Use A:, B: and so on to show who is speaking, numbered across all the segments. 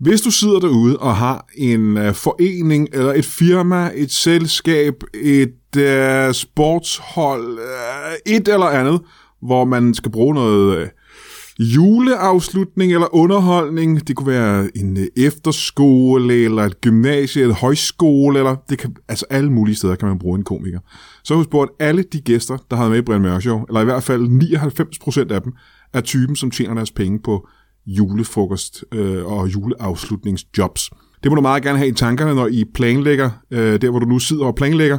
A: Hvis du sidder derude og har en øh, forening, eller et firma, et selskab, et øh, sportshold, øh, et eller andet, hvor man skal bruge noget øh, juleafslutning eller underholdning, det kunne være en øh, efterskole, eller et gymnasie, et højskole, eller det kan, altså alle mulige steder kan man bruge en komiker. Så husk på, at alle de gæster, der har været med i Brian Mørk Show, eller i hvert fald 99% af dem, er typen, som tjener deres penge på julefrokost øh, og juleafslutningsjobs. Det må du meget gerne have i tankerne, når I planlægger, øh, der hvor du nu sidder og planlægger,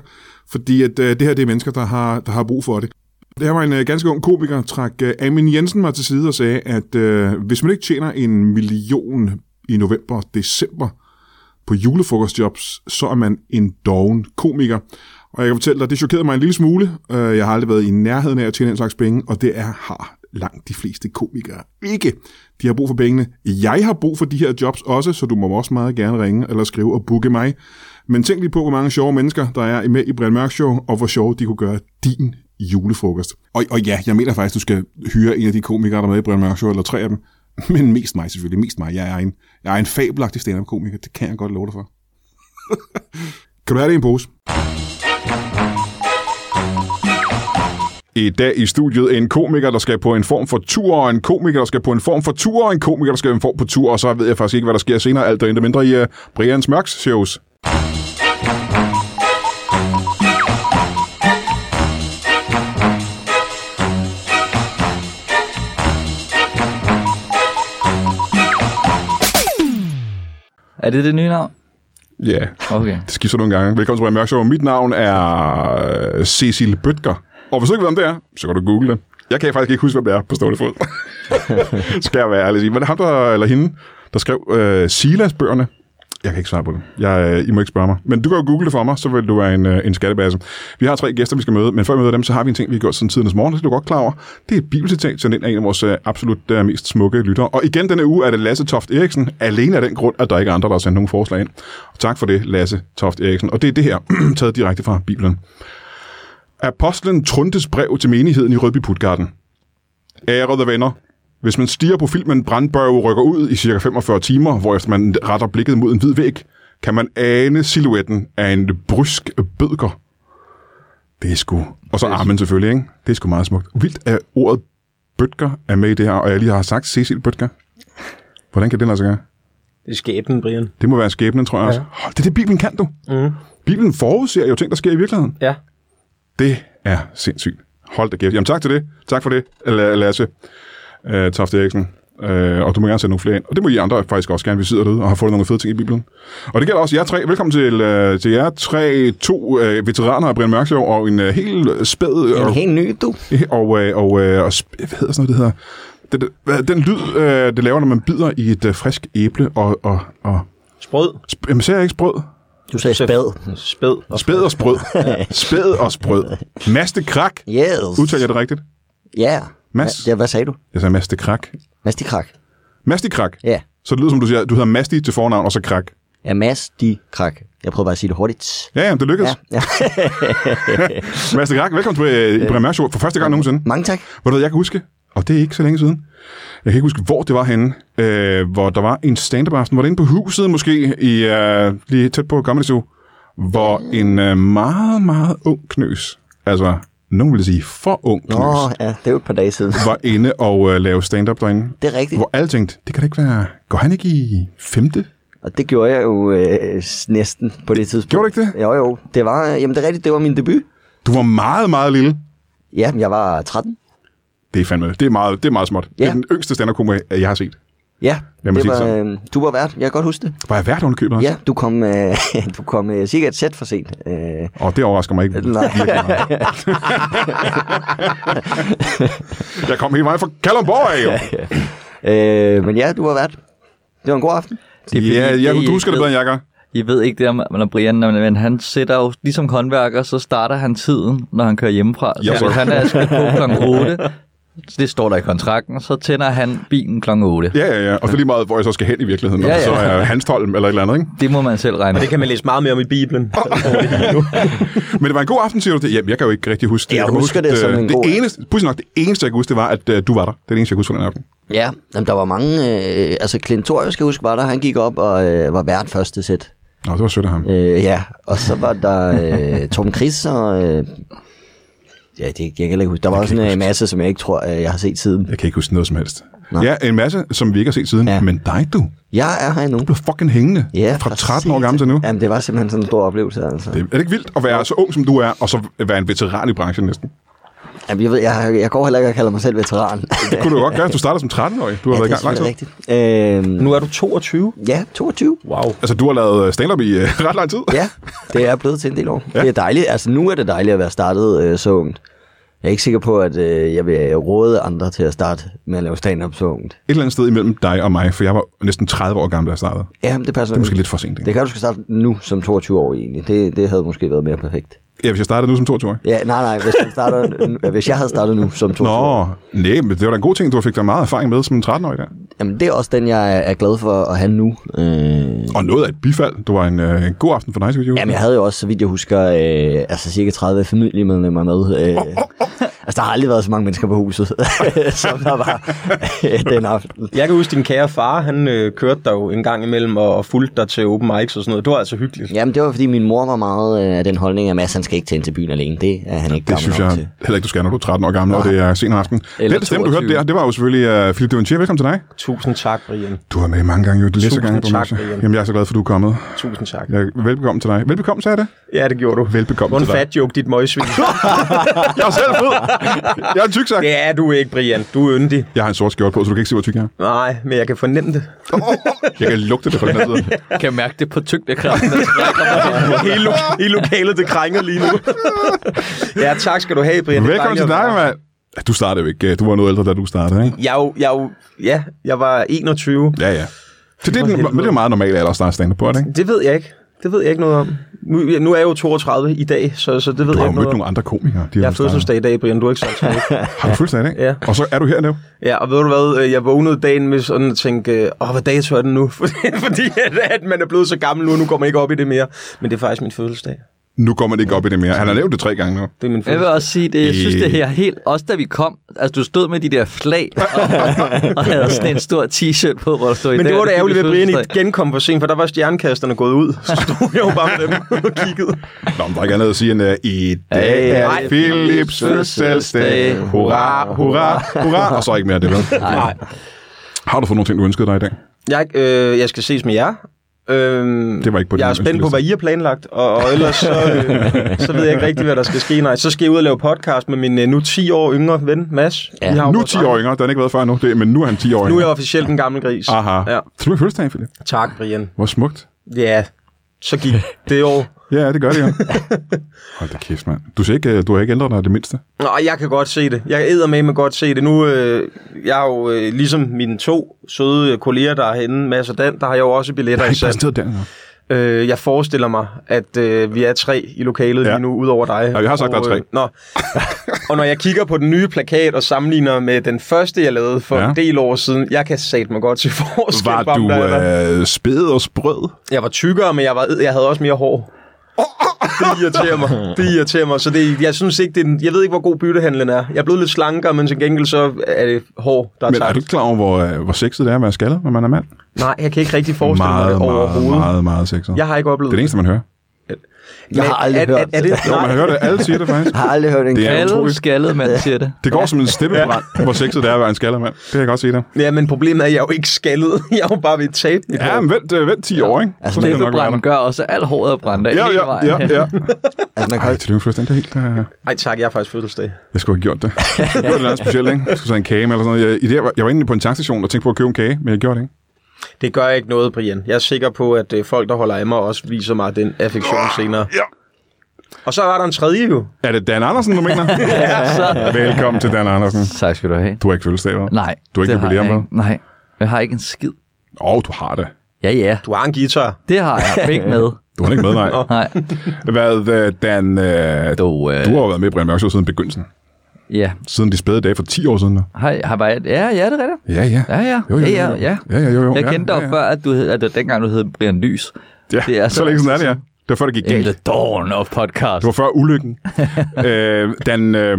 A: fordi at, øh, det her det er mennesker, der har, der har brug for det. Der var en øh, ganske ung komiker, trak øh, Amin Jensen mig til side og sagde, at øh, hvis man ikke tjener en million i november og december på julefrokostjobs, så er man en doven komiker. Og jeg kan fortælle dig, det chokerede mig en lille smule. Øh, Jeg har aldrig været i nærheden af at tjene den slags penge, og det er, har langt de fleste komikere ikke. De har brug for pengene. Jeg har brug for de her jobs også, så du må også meget gerne ringe eller skrive og booke mig. Men tænk lige på, hvor mange sjove mennesker, der er med i Brian Mørk Show, og hvor sjove de kunne gøre din julefrokost. Og, og ja, jeg mener faktisk, du skal hyre en af de komikere, der er med i Brian Mørk Show, eller tre af dem. Men mest mig selvfølgelig, mest mig. Jeg er en, jeg er en fabelagtig stand-up-komiker, det kan jeg godt love dig for. kan du have det i en pose? I dag i studiet en komiker, der skal på en form for tur, og en komiker, der skal på en form for tur, og en komiker, der skal på en form for tur, og så ved jeg faktisk ikke, hvad der sker senere, alt og intet mindre i uh, Brians Mørks shows.
B: Er det det nye navn?
A: Ja, yeah,
B: Okay.
A: det skifter nogle gange. Velkommen til Brian Mørk Show. Mit navn er øh, Cecil Bøtger. Og hvis du ikke ved, hvem det er, så kan du google det. Jeg kan faktisk ikke huske, hvem det er på stående fod. skal jeg være ærlig og sige. Men det er ham, der, eller hende, der skrev øh, Silas-bøgerne. Jeg kan ikke svare på det. Jeg, øh, I må ikke spørge mig. Men du kan jo google det for mig, så vil du være en, øh, en skattebasse. Vi har tre gæster, vi skal møde, men før vi møder dem, så har vi en ting, vi har gjort siden tidernes morgen, og det er du godt klar over. Det er et bibelcitat, sendt ind af en af vores øh, absolut øh, mest smukke lyttere. Og igen denne uge er det Lasse Toft Eriksen, alene af den grund, at der ikke er andre, der har sendt nogen forslag ind. Og tak for det, Lasse Toft Eriksen. Og det er det her, taget direkte fra Bibelen. Apostlen Truntes brev til menigheden i Rødby Putgarden. Ærede venner, hvis man stiger på filmen Brandbørge rykker ud i cirka 45 timer, hvorefter man retter blikket mod en hvid væg, kan man ane silhuetten af en brysk bødker. Det er sgu... Og så armen selvfølgelig, ikke? Det er sgu meget smukt. Vildt er ordet bødker er med i det her, og jeg lige har sagt Cecil Bødker. Hvordan kan det lade sig gøre?
C: Det er skæbnen, Brian.
A: Det må være skæbnen, tror jeg også. Hold, det er det, Bibelen kan, du.
C: Mm.
A: Bibelen forudser jo ting, der sker i virkeligheden.
C: Ja.
A: Det er sindssygt. Hold da kæft. Jamen tak til det. Tak for det, La- Lasse øh, Toft Eriksen. Øh, og du må gerne sende nogle flere ind. Og det må I andre faktisk også gerne. Vi sidder derude og har fundet nogle fede ting i Bibelen. Og det gælder også jer tre. Velkommen til, øh, til jer tre, to øh, veteraner af Brian Mørk Show, og en øh, helt spæd øh,
C: En helt ny, du.
A: og, øh, og, øh, og sp- hvad hedder sådan noget, det hedder? Den, den, hvad- den lyd, øh, det laver, når man bider i et øh, frisk æble, og, og, og
C: Sprød.
A: sp- jamen, ser jeg ikke sprød?
D: Du sagde spad.
C: Spæd. Og
A: Spæd og sprød. Spæd og sprød. Maste krak.
D: Yes.
A: Udtaler jeg det rigtigt?
D: Ja.
A: Mads?
D: Hva- Ja, hvad sagde du?
A: Jeg sagde Maste krak.
D: Masti Krak.
A: Masti krak.
D: Ja.
A: Så det lyder som du siger, du hedder Masti til fornavn, og så krak.
D: Ja, Mads de Krak. Jeg prøver bare at sige det hurtigt.
A: Ja, ja, det lykkedes.
D: Ja, ja.
A: Ja. Masti krak, velkommen til øh, Ibrahim Mørk Show for første gang nogensinde.
D: Mange tak.
A: Hvor du ved, jeg kan huske, og det er ikke så længe siden, jeg kan ikke huske, hvor det var henne, øh, hvor der var en stand-up aften, var det inde på huset måske, i, øh, lige tæt på Comedy Zoo, hvor en øh, meget, meget ung knøs, altså nogen ville sige for ung knøs,
D: Nå, ja, det er jo et par dage siden.
A: var inde og øh, lave stand-up derinde.
D: Det er rigtigt.
A: Hvor alle tænkte, det kan da ikke være, går han ikke i femte?
D: Og det gjorde jeg jo øh, s- næsten på det tidspunkt.
A: Gjorde du ikke det?
D: Jo, jo. Det var, øh, jamen det er rigtigt, det var min debut.
A: Du var meget, meget lille.
D: Ja, jeg var 13.
A: Det er fandme, det er meget, det er meget småt. Ja. Det er
D: Ja.
A: den yngste stand up jeg har set.
D: Ja,
A: Lad mig
D: det
A: sige det
D: var,
A: sådan.
D: øh, du var vært. Jeg kan godt huske det.
A: Var jeg vært under købet også?
D: Ja, du kom, øh, du kom øh, cirka et sæt for sent. Øh,
A: Og det overrasker mig ikke.
D: nej.
A: virkelig meget. jeg kom hele vejen fra Kalundborg af, jo.
D: øh, men ja, du var vært. Det var en god aften.
B: Det er fordi,
A: Ja,
B: det,
A: jeg,
B: I
A: du husker det
B: ved-
A: bedre, end jeg gør.
B: I ved ikke det om, når Brian, men men han sætter jo, ligesom håndværker, så starter han tiden, når han kører hjemmefra.
A: Ja,
B: så
A: tak.
B: han er skal på kl. 8, det står der i kontrakten, så tænder han bilen kl. 8.
A: Ja, ja, ja. Og så lige meget, hvor jeg så skal hen i virkeligheden. Ja,
B: Ja,
A: ja.
B: ja.
A: Så er Hanstholm eller et eller andet, ikke?
B: Det må man selv regne.
C: Det kan man læse meget mere om i Bibelen.
A: Men det var en god aften, siger du det? Jamen, jeg kan jo ikke rigtig huske det.
D: Jeg
A: kan
D: husker det
A: huske,
D: som
A: øh,
D: en
A: det
D: god aften.
A: eneste, pudsigt nok, det eneste, jeg kan huske, det var, at øh, du var der. Det er det eneste, jeg kan huske fra den aften.
D: Ja, jamen, der var mange... Øh, altså, Klintorius, skal jeg huske, var der. Han gik op og øh, var vært første sæt.
A: Nå, det var sødt af ham.
D: Øh, ja, og så var der øh, Tom Chris og... Øh, ja, det, jeg kan heller ikke huske. Der var også en øh, masse, som jeg ikke tror, øh, jeg har set siden.
A: Jeg kan ikke huske noget som helst.
D: Nå.
A: Ja, en masse, som vi ikke har set siden. Ja.
D: Ja.
A: Men dig, du.
D: Jeg er her endnu.
A: Du blev fucking hængende.
D: Ja,
A: fra
D: for
A: 13 år
D: satan.
A: gammel til nu.
D: Jamen, det var simpelthen sådan en stor oplevelse, altså.
A: Det, er det ikke vildt at være så ung, som du er, og så være en veteran i branchen næsten?
D: Jamen, jeg, ved, jeg, jeg går heller ikke og kalder mig selv veteran.
A: Det kunne du godt gøre, hvis du startede som 13-årig. Du har ja, været i gang lang tid.
D: rigtigt. Øhm,
C: Nu er du 22.
D: ja, 22.
C: Wow.
A: Altså, du har lavet øh, stand-up i øh, ret lang tid.
D: Ja, det er blevet til en del år. Ja. Det er dejligt. Altså, nu er det dejligt at være startet øh, så ungt. Jeg er ikke sikker på, at øh, jeg vil råde andre til at starte med at lave stand-up så ungt.
A: Et eller andet sted imellem dig og mig, for jeg var næsten 30 år gammel, da jeg startede.
D: Jamen, det passer
A: Det er måske
D: ikke.
A: lidt for sent, ikke?
D: Det kan du skal starte nu som 22 år egentlig. Det, det havde måske været mere perfekt.
A: Ja, hvis jeg startede nu som 22-årig.
D: Ja, nej, nej. Hvis, man starter, hvis jeg havde startet nu som 22 år,
A: Nå, nej, men det var da en god ting, du fik da meget erfaring med som 13-årig der.
D: jamen, det er også den, jeg er- er glad for at have nu. Øh,
A: Og noget af et bifald. Det var en, øh, en god aften for dig, skal vi sige.
D: Jamen, jeg havde jo også, så vidt jeg husker, øh, altså cirka 30 familiemedlemmer med. Øh, altså, der har aldrig været så mange mennesker på huset, som der var øh, den aften.
C: Jeg kan huske, din kære far, han øh, kørte dig jo en gang imellem og, og fulgte dig til open mics og sådan noget. Det var altså hyggeligt.
D: Jamen, det var, fordi min mor var meget øh, af den holdning, at Mads, han skal ikke tænde til byen alene. Det er han
A: Det
D: ikke gammel
A: synes
D: nok
A: jeg
D: til.
A: heller ikke, du skal, når du er 13 år gammel, og det er sen aften.
B: Eller
A: Den stemme, du hørte
B: 22.
A: der, det var jo selvfølgelig uh, Philip Devontier. Velkommen til dig.
C: Tusind tak, Brian.
A: Du har med mange gange, jo. Du læser
C: Tusind
A: gange på
C: tak,
A: Maxi.
C: Brian.
A: Jamen, jeg er så glad for, at du er kommet.
C: Tusind tak.
A: Jeg, velbekomme til dig. Velbekomme, sagde jeg det?
C: Ja, det gjorde du.
A: Velbekomme
C: Hvor en
A: til dig.
C: fat joke, dit møgsvin.
A: Jeg er selv fed. Jeg er en tyk sagt.
C: det er du ikke, Brian. Du er yndig.
A: Jeg har en sort skjort på, så du kan ikke se, hvor tyk jeg er.
C: Nej, men jeg kan fornemme det.
A: Jeg kan lugte det fra den her side.
B: kan mærke det på tyngdekraften. der trækker mig.
C: hele, lo- hele lokalet, det krænger lige nu. ja, tak skal du have, Brian. Det er
A: Velkommen til
C: dejligt at
A: dig,
C: være her.
A: mand. Ja, Du startede jo ikke. øh, Du var noget ældre, da du startede, ikke?
C: Jeg er jo, jeg er jo, ja, jeg var 21.
A: Ja, ja. Så det, er den,
C: helvede.
A: men det er jo meget normalt alder at starte stand på, ikke?
C: Det ved jeg ikke. Det ved jeg ikke noget om. Nu, nu er jeg jo 32 i dag, så, så det ved
A: Du
C: jeg
A: har jo mødt
C: ikke noget om.
A: nogle andre komikere. De
C: Jeg
A: har
C: har fødselsdag i dag, Brian. Du er ikke sådan til mig.
A: Har du fødselsdag, ikke?
C: Ja.
A: Og så er du her nu.
C: Ja, og ved du hvad? øh, Jeg vågnede dagen med sådan at tænke, åh, hvad dato er den nu? Fordi, fordi at, at man er blevet så gammel nu, nu går man ikke op i det mere. Men det er faktisk min fødselsdag.
A: Nu går man ikke op i det mere. Han har nævnt det tre gange nu.
C: Det er min
B: Jeg vil
C: fødselsdag.
B: også sige, det, jeg synes det her er helt... Også da vi kom, altså du stod med de der flag, og, og havde sådan en stor t-shirt på, hvor der stod i
C: Men
B: dag.
C: det var da
B: er
C: ærgerligt,
B: din
C: at Brian
B: fødselsdag.
C: ikke genkom for sent, for der var stjernekasterne gået ud. Så stod jeg jo bare med dem og kiggede.
A: Nå, men der er ikke andet at sige end, uh, i dag er
B: Ej,
A: Philips fødselsdag. Hurra, hurra, hurra. Og så ikke mere af det, vel? Nej. Har du fået nogle ting, du ønskede dig i dag?
C: Jeg, øh, jeg skal ses med jer. Øhm,
A: Det var ikke på
C: jeg
A: din
C: er spændt på,
A: ønskeliste.
C: hvad I har planlagt, og, og ellers så, øh, så ved jeg ikke rigtig, hvad der skal ske. Nej, så skal jeg ud og lave podcast med min øh, nu 10 år yngre ven, Mads.
D: Ja.
C: Vi har jo
A: Nu
C: vores-
A: 10 år yngre. Det har han ikke været før nu, det, men nu er han 10 år
C: Nu er jeg
A: yngre.
C: officielt en gammel gris.
A: Aha.
C: Ja.
A: Så du er fødselsdag, Philip.
C: Tak, Brian.
A: Hvor smukt.
C: Ja, så gik det år.
A: Ja, det gør det jo. Hold da kæft, mand. Du, ser ikke, øh, du har ikke ændret dig det mindste.
C: Nå, jeg kan godt se det. Jeg æder med godt se det. Nu, øh, jeg har jo øh, ligesom mine to søde kolleger, der er henne, Mads og Dan, der har jeg jo også
A: Jeg
C: billetter
A: har
C: i
A: ikke
C: salg.
A: præsenteret den endnu.
C: Øh, jeg forestiller mig, at øh, vi er tre i lokalet
A: Ja.
C: ja. lige nu, udover dig.
A: Ja, vi har sagt,
C: og,
A: der er tre.
C: Øh, nå. og når jeg kigger på den nye plakat og sammenligner med den første, jeg lavede for
A: Ja.
C: ja. en del år siden, jeg kan sat mig godt til forskel.
A: Var
C: på, om
A: du
C: der er der.
A: øh, spæd og sprød?
C: Jeg var tykkere, men jeg, var, jeg havde også mere hår. Det irriterer mig. Det irriterer mig. Så det, jeg synes ikke, det er, en- jeg ved ikke, hvor god byttehandlen er. Jeg er blevet lidt slankere, men til gengæld så er det hår, der er
A: Men er
C: tabt.
A: du ikke klar over, hvor, øh, hvor sexet det er at være skaldet, når man er mand?
C: Nej, jeg kan ikke rigtig forestille mig
A: Meget,
C: det
A: meget,
C: overhovedet.
A: meget, meget sexet.
C: Jeg har ikke oplevet
A: Det er det eneste, man hører.
D: Jeg har aldrig
C: er,
D: hørt
C: Er, er det,
D: det.
A: Jo, man hører det. Alle siger det faktisk.
D: Jeg har aldrig hørt en
A: Det er
D: kvinde-
B: Alle
A: utroligt.
B: skaldede mand siger det.
A: Det går som en steppebrand, hvor sexet det er at være en skaldet mand. Det kan jeg godt sige dig.
C: Ja, men problemet er, at jeg er jo ikke skaldet. Jeg er jo bare ved et tape. mit
A: Ja,
C: hår.
A: men vent, øh, vent 10 år, ikke?
D: Altså,
A: skal det nok være
B: Steppebranden gør også alt håret er brændt af
A: der. Ja,
B: hele
A: ja,
B: vejen.
A: ja, ja.
D: Altså, man kan
A: Ej,
D: jo ikke-
A: til det først, det er helt... øh,
C: Ej, tak, jeg har faktisk fødselsdag.
A: Jeg skulle have gjort det. Jeg gjorde det noget specielt, ikke? Jeg skulle tage en kage med eller sådan noget. Jeg, i det, jeg, var, jeg var inde på en tankstation og tænkte på at købe en kage, men jeg gjorde det ikke.
C: Det gør ikke noget, Brian. Jeg er sikker på, at øh, folk, der holder af mig, også viser mig den affektion
B: Ah,
C: senere.
A: Ja.
C: Og så var der en tredje jo.
A: Er det Dan Andersen, du mener? Velkommen til Dan Andersen.
B: Tak skal du have.
A: Du har ikke fødselsdag, hva'?
B: Nej.
A: Du har ikke
B: det har
A: jubilæum,
B: jeg ikke. Nej, jeg har ikke en skid.
A: Åh, oh, du har det.
B: Ja, ja.
C: Du har en guitar.
B: Det har jeg ikke med.
A: Du er ikke med, nej.
B: Nej.
A: Hvad, øh, Dan... Øh,
B: Du, øh,
A: du har jo været med i Brian Mørkshow siden begyndelsen.
B: Ja.
A: Siden de spæde dage for 10 år siden. der.
B: Har, har bare, ja, ja, det er rigtigt.
A: Ja, ja.
B: Ja, ja.
A: Jo, jo,
B: ja,
A: jo,
B: ja, ja.
A: Ja, ja, jo, jo.
B: Jeg
A: ja,
B: kendte
A: ja,
B: dig
A: ja.
B: før, at du hed, altså, dengang du hed Brian Lys.
A: Ja, det er så, så længe sådan er det, ja. Det var før, det gik
B: In
A: galt.
B: the dawn of podcast.
A: Det var før ulykken. øh, den, øh,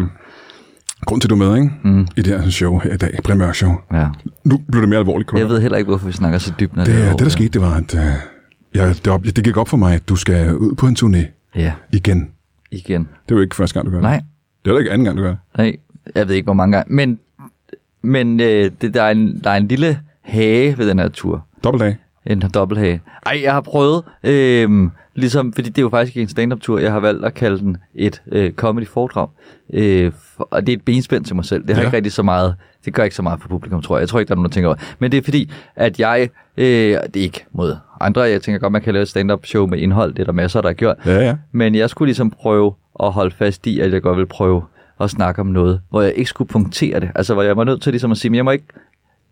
A: grund til, at du er med ikke? Mm. i det her show her i dag, Brian Mørk Show.
B: Ja.
A: Nu blev det mere alvorligt, Kåre.
B: Jeg ved heller ikke, hvorfor vi snakker så dybt, når
A: Det,
B: det, er
A: det, der
B: over.
A: skete, det var, at øh, jeg, det, op, det gik op for mig, at du skal ud på en turné
B: Ja,
A: igen.
B: igen.
A: Det er jo ikke første gang, du gør det.
B: Nej,
A: Det er da ikke anden gang, du gør det.
B: nej. Jeg ved ikke, hvor mange gange. Men, men øh, det, der, er en, der er en lille hage ved den her tur.
A: Dobbelt dag.
B: En dobbelthage. Ej, jeg har prøvet, øh, ligesom, fordi det er jo faktisk ikke en stand-up-tur, jeg har valgt at kalde den et øh, comedy-foredrag. Øh, for, og det er et benspænd til mig selv. Det har
A: Ja.
B: ja. ikke rigtig så meget, det gør ikke så meget for publikum, tror jeg. Jeg tror ikke, der er nogen, der tænker over det. Men det er fordi, at jeg, øh, det er ikke mod andre, jeg tænker godt, man kan lave et stand-up-show med indhold, det er der masser, der har gjort.
A: Ja, ja.
B: Men jeg skulle ligesom prøve at holde fast i, at jeg godt ville prøve at snakke om noget, hvor jeg ikke skulle punktere det. Altså, hvor jeg var nødt til ligesom at sige, at jeg må ikke,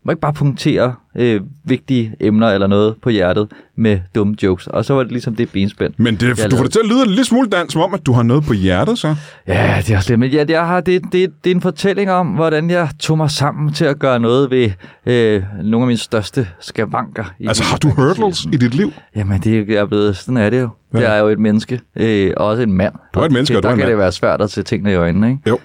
B: må ikke bare punktere øh, vigtige emner eller noget på hjertet med dumme jokes. Og så var det ligesom det benspænd.
A: Men det,
B: Jeg
A: du får
B: lavede.
A: det til at lyde en lille smule dansk, som om, at du har noget på hjertet, så.
B: Ja, det er også lidt, men ja, det, jeg har, det, det, det er en fortælling om, hvordan jeg tog mig sammen til at gøre noget ved øh, nogle af mine største skavanker. i
A: Altså,
B: mit-
A: har du hurdles i dit liv?
B: Jamen, det er, jo- jeg er blevet, sådan er det jo.
A: Ja.
B: Ja. Jeg er jo et menneske, øh, og også en mand.
A: Du er et
B: Og
A: menneske, og
B: det,
A: du er
B: Der
A: en
B: kan
A: mand.
B: det være svært at se tingene i øjnene, ikke?
A: Jo.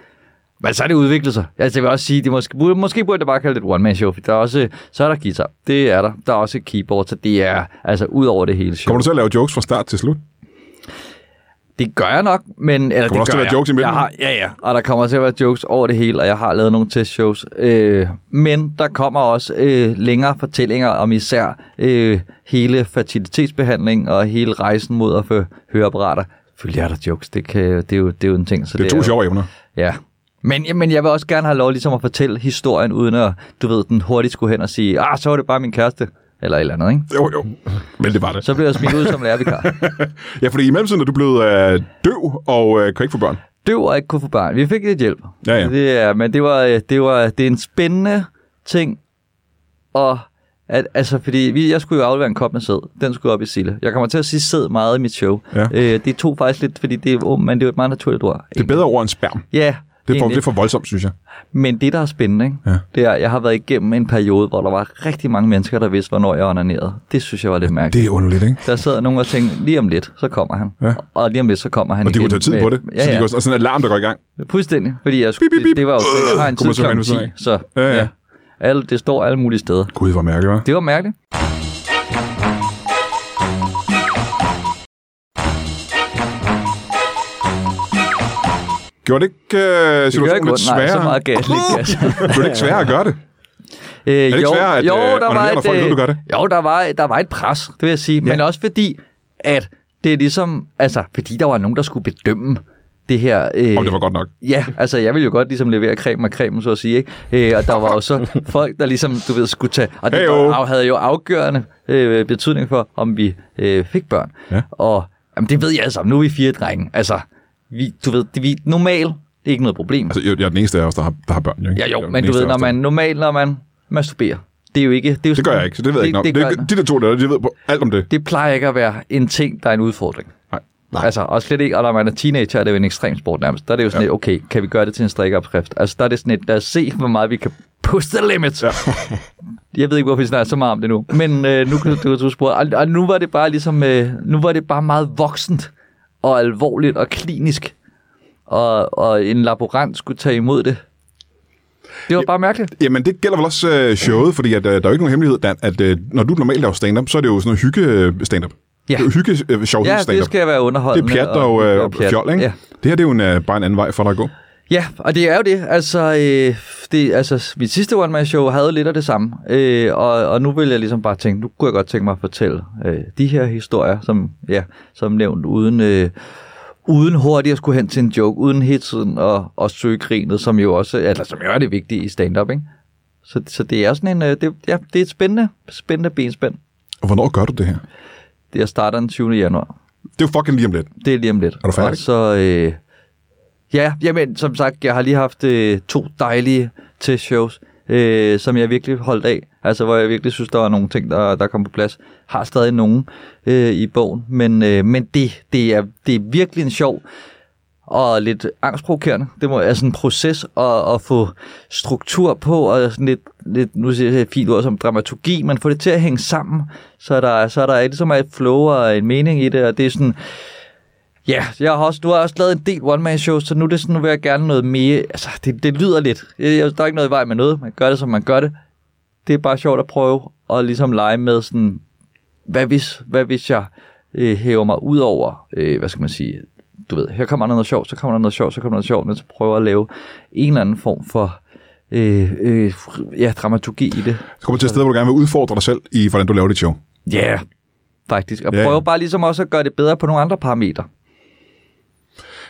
B: Men så er det udviklet sig. Altså, jeg vil også sige, det måske, burde- måske burde jeg bare kalde det et one-man-show, for der er også, så er der guitar. Det er der. Der er også et keyboard, så det er altså ud over det hele show.
A: Kommer du til at lave jokes fra start til slut?
B: Det gør jeg nok, men... Eller, det
A: der også
B: gør
A: til at være
B: jeg.
A: jokes imellem?
B: Jeg har, ja, ja. Og der kommer til at være jokes over det hele, og jeg har lavet nogle testshows. Øh, men der kommer også øh, længere fortællinger om især øh, hele fertilitetsbehandling og hele rejsen mod at få høreapparater. Selvfølgelig er der jokes. Det, kan, det, er, jo, det er jo en ting. Så
A: Det er to
B: jo-
A: sjove emner.
B: Ja. Men, ja, men jeg vil også gerne have lov ligesom at fortælle historien, uden at, du ved, den hurtigt skulle hen og sige, ah, så var det bare min kæreste, eller et eller andet, ikke?
A: Jo, jo. Men det var det.
B: Så blev jeg smidt ud som lærervikar.
A: Ja, fordi i mellemtiden er du blevet øh, døv og øh, kan ikke få børn.
B: Døv og ikke kunne få barn. Vi fik lidt hjælp.
A: Ja, ja.
B: Det er, men det var, øh, det var det er en spændende ting. Og at, altså, fordi vi, jeg skulle jo aflevere en kop med sæd. Den skulle op i Sille. Jeg kommer til at sige sæd meget i mit show.
A: Ja.
B: Øh, det tog faktisk lidt, fordi det er ung, men det er jo et meget naturligt ord.
A: Det er bedre over end sperm.
B: Ja,
A: Det er, for,
B: egentlig.
A: det er for voldsomt, synes jeg.
B: Men det, der er spændende, ikke?
A: Ja.
B: det er, jeg har været igennem en periode, hvor der var rigtig mange mennesker, der vidste, hvornår jeg onanerede. Det synes jeg var lidt mærkeligt.
A: Det er underligt, ikke?
B: Der sad nogen og tænkte, lige om lidt, så kommer han.
A: Ja.
B: Og lige om lidt, så kommer han
A: Og de
B: igen
A: kunne tage tid
B: med-
A: på det.
B: Ja,
A: Så de
B: ja.
A: går, og sådan en alarm, der går i gang.
B: Fuldstændig, fordi jeg, skulle,
A: Bip, bip, bip.
B: Det, det var jo jeg har en
A: Kunne man
B: tid
A: så
B: klokken
A: finde ud
B: 10,
A: af.
B: så
A: Ja, ja.
B: Alle, det står alle mulige steder.
A: Gud, hvor mærkeligt, hva'?
B: Det var mærkeligt.
A: Gjorde det ikke øh,
B: Det gør
A: situationen
B: ikke
A: lidt
B: ondt, nej, så
A: sværere?
B: meget gav jeg slet ikke gas.
A: Blev det ikke sværere at gøre det?
B: Øh, er
A: ikke sværere at, øh, onanere, når folk ved, du gør det?
B: Jo, der var, der var et pres, det vil jeg sige. Ja. Men også fordi, at det er ligesom... Altså, fordi der var nogen, der skulle bedømme det her... Øh,
A: Om det var godt nok.
B: Ja, altså jeg ville jo godt ligesom levere creme og cremen, så at sige, ikke? Øh, og der var jo så folk, der ligesom, du ved, skulle tage... Og det
A: Heyo.
B: var, havde jo afgørende øh, betydning for, om vi øh, fik børn.
A: Ja.
B: Og jamen, det ved jeg altså, nu er vi fire drenge. Altså, vi, du ved, det, vi normalt, det er ikke noget problem.
A: Altså, jeg, jeg er den eneste af os, der har, der har børn, jo, ikke?
B: Ja,
A: Jeg er
B: jo,
A: den
B: men du
A: eneste
B: ved,
A: af
B: når
A: os, der-
B: man normalt, når man masturberer, det er jo ikke... Det, er jo
A: Det gør jeg ikke, så det ved jeg ikke nok.
B: Det,
A: Det,
B: det,
A: er
B: gør,
A: ikke- de der to der, de ved på alt om det.
B: det plejer ikke at være en ting, der er en udfordring.
A: Nej.
D: Nej.
B: Altså, og slet ikke, og når man er teenager, er det jo en ekstrem sport nærmest. Der er det jo sådan ja. et, okay, kan vi gøre det til en strikkeopskrift? Altså, der er det sådan et, lad os se, hvor meget vi kan push the limits. Ja. jeg ved ikke, hvorfor vi snakker så meget om det nu, men øh, nu kan du, du spore. Og, og, nu var det bare ligesom, øh, nu var det bare meget voksent og alvorligt og klinisk. Og, og en laborant skulle tage imod det. Det var bare mærkeligt.
A: Jamen, det gælder vel også øh, showet, fordi at, øh, der er jo ikke nogen hemmelighed, Dan, at øh, når du normalt laver stand-up, så er det jo sådan noget hygge-stand-up.
B: Ja.
A: Det er jo hygge øh, sjov
B: Ja, det
A: stand-up.
B: skal være
A: Det er
B: underholdende.
A: pjat og, øh, og
B: pjat.
A: fjol, ikke?
B: Ja.
A: Det her det er jo en, øh, bare en anden vej for dig at gå.
B: Ja, og det er jo det. Altså, øh, det, altså mit sidste one-man-show havde lidt af det samme. Øh, og, og nu vil jeg ligesom bare tænke, nu kunne jeg godt tænke mig at fortælle øh, de her historier, som, ja, som nævnt, uden, øh, uden hurtigt at skulle hen til en joke, uden hele tiden at, at søge grinet, som jo også eller, som jo er det vigtige i stand-up, ikke? Så, så det er sådan en, øh, det, ja, det er et spændende, spændende benspænd.
A: Og hvornår gør du det her?
B: Det er starter den 20. januar.
A: Det er jo fucking lige om lidt.
B: Det er lige om lidt.
A: Er du færdig?
B: Og så, øh, ja, jamen, som sagt, jeg har lige haft øh, to dejlige testshows, øh, som jeg virkelig holdt af. Altså, hvor jeg virkelig synes, der var nogle ting, der, der kom på plads. Har stadig nogen øh, i bogen, men, øh, men det, det, er, det er virkelig en sjov og lidt angstprovokerende. Det må, er sådan en proces at, at få struktur på, og sådan lidt, lidt nu siger jeg et fint ord som dramaturgi, man får det til at hænge sammen, så der, så der er ligesom et flow og en mening i det, og det er sådan, Ja, jeg har også, du har også lavet en del one-man-shows, så nu, er det sådan, nu vil jeg gerne noget mere... Altså, det, det lyder lidt. Jeg, der er ikke noget i vej med noget. Man gør det, som man gør det. Det er bare sjovt at prøve at ligesom lege med sådan... Hvad hvis, hvad hvis jeg øh, hæver mig ud over, øh, hvad skal man sige, du ved, her kommer der noget sjovt, så kommer der noget sjovt, så kommer der noget sjovt, men så prøver at lave en eller anden form for øh, øh, ja, dramaturgi i det.
A: Så kommer til et sted, hvor du gerne vil udfordre dig selv i, hvordan du laver dit show.
B: Ja, yeah, faktisk. Og
A: Ja, ja.
B: prøve bare ligesom også at gøre det bedre på nogle andre parametre.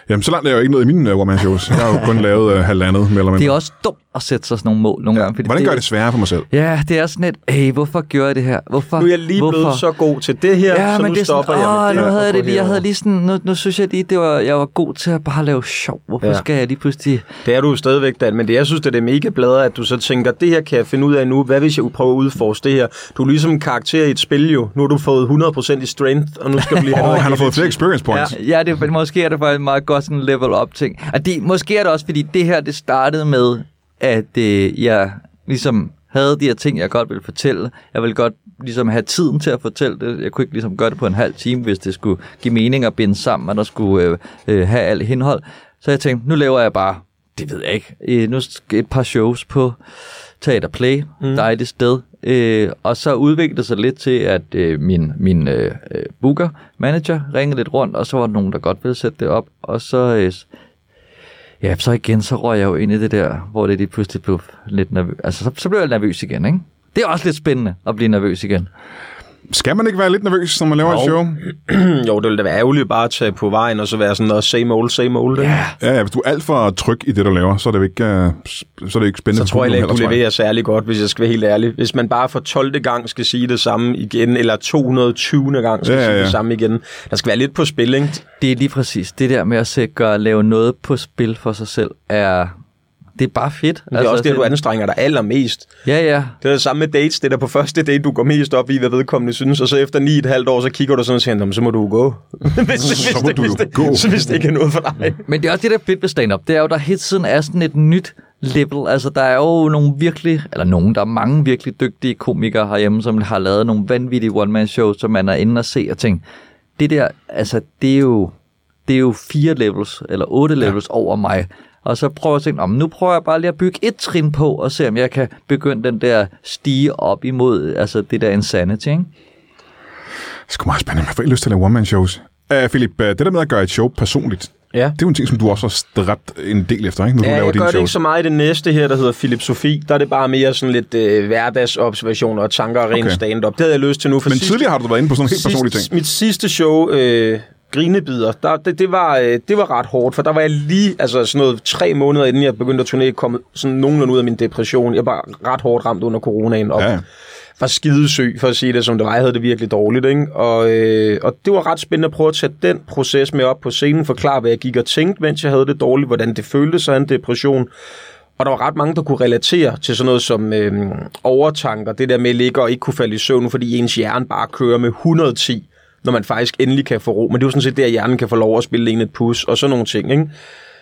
A: Jamen, så langt er jeg jo ikke noget i mine uh, one-man-shows. Jeg har jo kun lavet uh, halvandet, mere eller mindre.
B: Det er også dumt at sætte sig sådan nogle mål nogle gange. Fordi
A: Hvordan gør jeg det sværere for mig selv?
B: Ja, det er sådan et, hey, hvorfor gjorde jeg det her? Hvorfor,
C: Nu er jeg lige
B: hvorfor?
C: blevet så god til det her,
B: Ja,
C: så
B: men
C: nu
B: det er
C: stopper
B: sådan,
C: jeg
B: åh,
C: med
B: nu
C: det.
B: havde
C: og
B: jeg det lige, jeg
C: herover."
B: havde lige sådan, nu, nu synes jeg lige, det var, jeg var god til at bare lave sjov. Hvorfor
C: Ja.
B: ja. skal jeg lige pludselig...
C: Det er du jo stadigvæk, Dan, men det, jeg synes, det er mega bladere, at du så tænker, det her kan jeg finde ud af nu, hvad hvis jeg prøver at udforske det her? Du er ligesom en karakter i et spil jo. Nu har du fået 100% i strength, og nu skal du lige have
A: Åh,
C: noget
A: oh, han har fået
C: agility.
A: flere experience points. Ja.
B: Ja, det, måske er det faktisk meget godt sådan level up ting. Og det, måske er det også, fordi det her, det startede med, at øh, jeg ligesom havde de her ting, jeg godt ville fortælle. Jeg ville godt ligesom have tiden til at fortælle det. Jeg kunne ikke ligesom gøre det på en halv time, hvis det skulle give mening at binde sammen, og der skulle øh, øh, have alt indhold. Så jeg tænkte, nu laver jeg bare, det ved jeg ikke, øh, nu sk- et par shows på Teater Play, mm. dejligt sted. Øh, og så udviklede det sig lidt til, at øh, min, min øh, øh, booker, manager, ringede lidt rundt, og så var der nogen, der godt ville sætte det op. Og så, øh, s- ja, så igen, så røg jeg jo ind i det der, hvor det lige pludselig blev lidt nervøs. Altså, så, så blev jeg nervøs igen, ikke? Det er også lidt spændende at blive nervøs igen.
A: Skal man ikke være lidt nervøs, når man laver et show?
C: jo, det ville da være ærgerligt bare at tage på vejen, og så være sådan noget same old, same old. ikke?
B: Ja,
A: Ja, ja, hvis du er alt for tryg i det, du laver, så er det jo ikke, uh, så er det jo ikke
C: Så
A: spændende. for
C: tror jeg
A: publikum
C: heller ikke, du
A: heller,
C: leverer særlig godt, hvis jeg skal være helt ærlig. Hvis man bare for 12. gang skal sige det samme igen, eller 220. gang skal
A: Ja,
C: ja,
A: ja,
C: sige
A: ja.
C: det samme igen. Der skal være lidt på spil, ikke?
B: det er lige præcis det der med at sikre at lave noget på spil for sig selv, er... Det er bare fedt. Altså,
C: Men det er også Altså, det, du anstrenger dig allermest.
B: Ja, ja.
C: Det er det samme med dates. Det er der på første date, du går mest op i, hvad vedkommende synes, og så efter 9,5 år, så kigger du sådan og siger, "Nå, men så må du jo gå. hvis, hvis,
A: Så må
C: det-
A: du
C: hvis
A: jo
C: det-
A: gå.
C: Så hvis det ikke er noget for dig.
B: Men det er også det, der er fedt ved stand-up. Det er jo, der hele tiden er sådan et nyt level. Altså, der er jo nogle virkelig, eller nogen, der er mange virkelig dygtige komikere herhjemme, som har lavet nogle vanvittige one-man-shows, som man er inde og se og tænke, det der, altså, det er jo, det er jo fire levels, eller otte levels ja. over mig. Og så prøver jeg at tænke, "Nå, men nu prøver jeg bare lige at bygge et trin på, og se om jeg kan begynde den der stige op imod, altså det der insanity, ikke?
A: Det er sgu meget spændende. Jeg får ikke lyst til at lave one-man-shows. Uh, Philip, øh, det der med at gøre et show personligt,
C: Ja.
A: det er jo en ting, som du også har stræbt en del efter, ikke? Når du
C: Ja,
A: laver
C: jeg gør
A: dine
C: det ikke
A: shows.
C: så meget i det næste her, der hedder Philip Sofie. Der er det bare mere sådan lidt øh, hverdagsobservationer og tanker og ren
A: Okay.
C: okay. stand-up. Det havde jeg lyst til nu. For
A: Men
C: sidst-
A: tidligere har du været inde på sådan nogle helt
C: sidst-
A: personlige ting.
C: Mit sidste show, øh, Grinebider, der, det, det, var, øh, det var ret hårdt, for der var jeg lige, altså sådan noget tre måneder inden jeg begyndte at turnere, kom sådan nogenlunde ud af min depression. Jeg var ret hårdt ramt under coronaen, og
A: Ja,
C: ja,
A: ja.
C: ja. var skidesyg, for at sige det som det var. Jeg havde det virkelig dårligt, ikke? Og, øh, og det var ret spændende at prøve at tage den proces med op på scenen, forklare, hvad jeg gik og tænkte, mens jeg havde det dårligt, hvordan det føltes at have en depression. Og der var ret mange, der kunne relatere til sådan noget som øh, overtanker, det der med at ligge og ikke kunne falde i søvn, fordi ens hjerne bare kører med 110, når man faktisk endelig kan få ro. Men det er jo sådan set det, at hjernen kan få lov at spille en et pus og sådan nogle ting, ikke?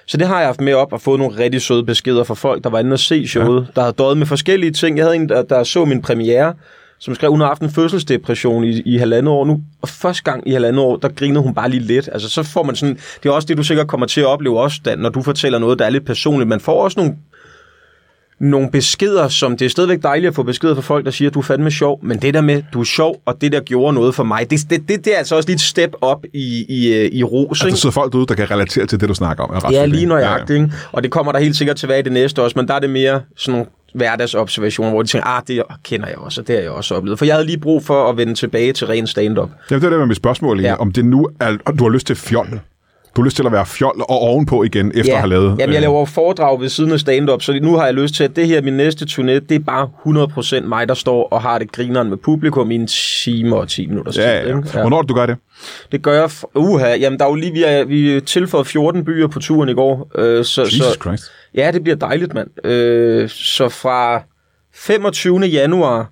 C: Så det har jeg haft med op og fået nogle rigtig søde beskeder fra folk, der var inde og se showet, ja. der havde døjet med forskellige ting. Jeg havde en, der, der så min premiere, som skrev, hun har haft en fødselsdepression i, i halvandet år nu, og første gang i halvandet år, der grinede hun bare lige lidt. Altså, så får man sådan, det er også det, du sikkert kommer til at opleve også, Dan, når du fortæller noget, der er lidt personligt. Man får også nogle nogle beskeder, som det er stadigvæk dejligt at få beskeder fra folk, der siger, du er fandme sjov, men det der med, du er sjov, og det der gjorde noget for mig, det, det, det, det er altså også lige et step op i, i, øh, i ros,
A: Altså,
C: ikke?
A: der sidder folk derude, der kan relatere til det, du snakker om. er ret
C: Ja,
A: fedt,
C: lige
A: ikke?
C: nøjagtigt, ikke? Og det kommer der helt sikkert tilbage i det næste også, men der er det mere sådan nogle hverdagsobservationer, hvor de tænker, ah, det kender jeg også, og det har jeg også oplevet. For jeg havde lige brug for at vende tilbage til ren stand-up.
A: Jamen, det var det med mit spørgsmål, ja.
C: Ja.
A: om det nu er, og du har lyst til fjol. Du har lyst til at være fjol og ovenpå igen, efter at have lavet...
C: Jamen, jeg
A: øh,
C: laver jo foredrag ved siden af stand-up, så nu har jeg lyst til, at det her, min næste turné, det er bare 100% mig, der står og har det grineren med publikum i en time og 10 minutter.
A: Ja, ja, ja. Hvornår er det, du gør det?
C: Det gør jeg... F- Uha, jamen der er jo lige... Vi, er, vi tilføjede 14 byer på turen i går. Øh, så,
A: Jesus
C: så,
A: Christ.
C: Ja, det bliver dejligt, mand. Øh, så fra 25. januar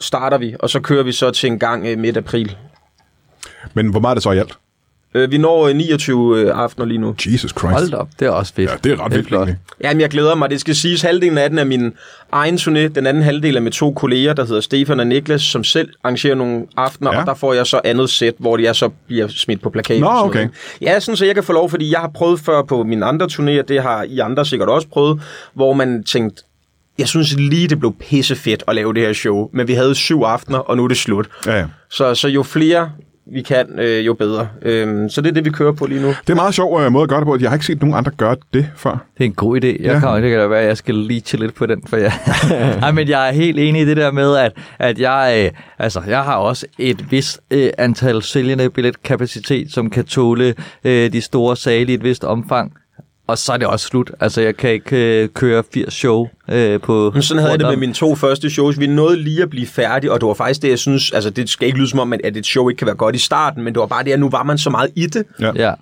C: starter vi, og så kører vi så til en gang øh, midt april.
A: Men hvor meget er det så i alt?
C: Øh, vi når øh, 29 øh, aftener lige nu.
A: Jesus Christ.
B: Hold da op, det er også fedt.
A: Ja, det er ret vildt.
B: flot.
A: egentlig.
C: Jamen, jeg glæder mig. Det skal siges, halvdelen af den er min egen turné. Den anden halvdel er med to kolleger, der hedder Stefan og Niklas, som selv arrangerer nogle aftener,
A: Ja.
C: ja. og der får jeg så andet sæt, hvor jeg så bliver smidt på plakaten.
A: Nå,
C: og sådan
A: okay.
C: noget. Ja, sådan, så jeg kan få lov, fordi jeg har prøvet før på mine andre turnéer, det har I andre sikkert også prøvet, hvor man tænkte, jeg synes lige, det blev pissefedt at lave det her show, men vi havde syv aftener, og nu er det slut.
A: Ja, ja.
C: Så, så jo flere vi kan, øh, jo bedre. Øhm, så det er det, vi kører på lige nu.
A: Det er en meget sjov øh, måde at gøre det på. Jeg har ikke set nogen andre gøre det før.
B: Det er en god idé. Jeg
A: Ja.
B: ja. kan, det kan da være, at jeg skal lige til lidt på den, for jeg... Nej, men jeg er helt enig i det der med, at, at jeg, øh, altså, jeg har også et vist øh, antal sælgende billetkapacitet, som kan tåle øh, de store sale i et vist omfang. Og så er det også slut. Altså, jeg kan ikke øh, køre 80 show øh, på...
C: Men sådan havde jeg det
B: rundt
C: med
B: om.
C: mine to første shows. Vi nåede lige at blive færdige, og det var faktisk det, jeg synes, altså det skal ikke lyde som om, at- at et show ikke kan være godt i starten, men det var bare det, at nu var man så meget i det.
A: Ja.
B: Ja.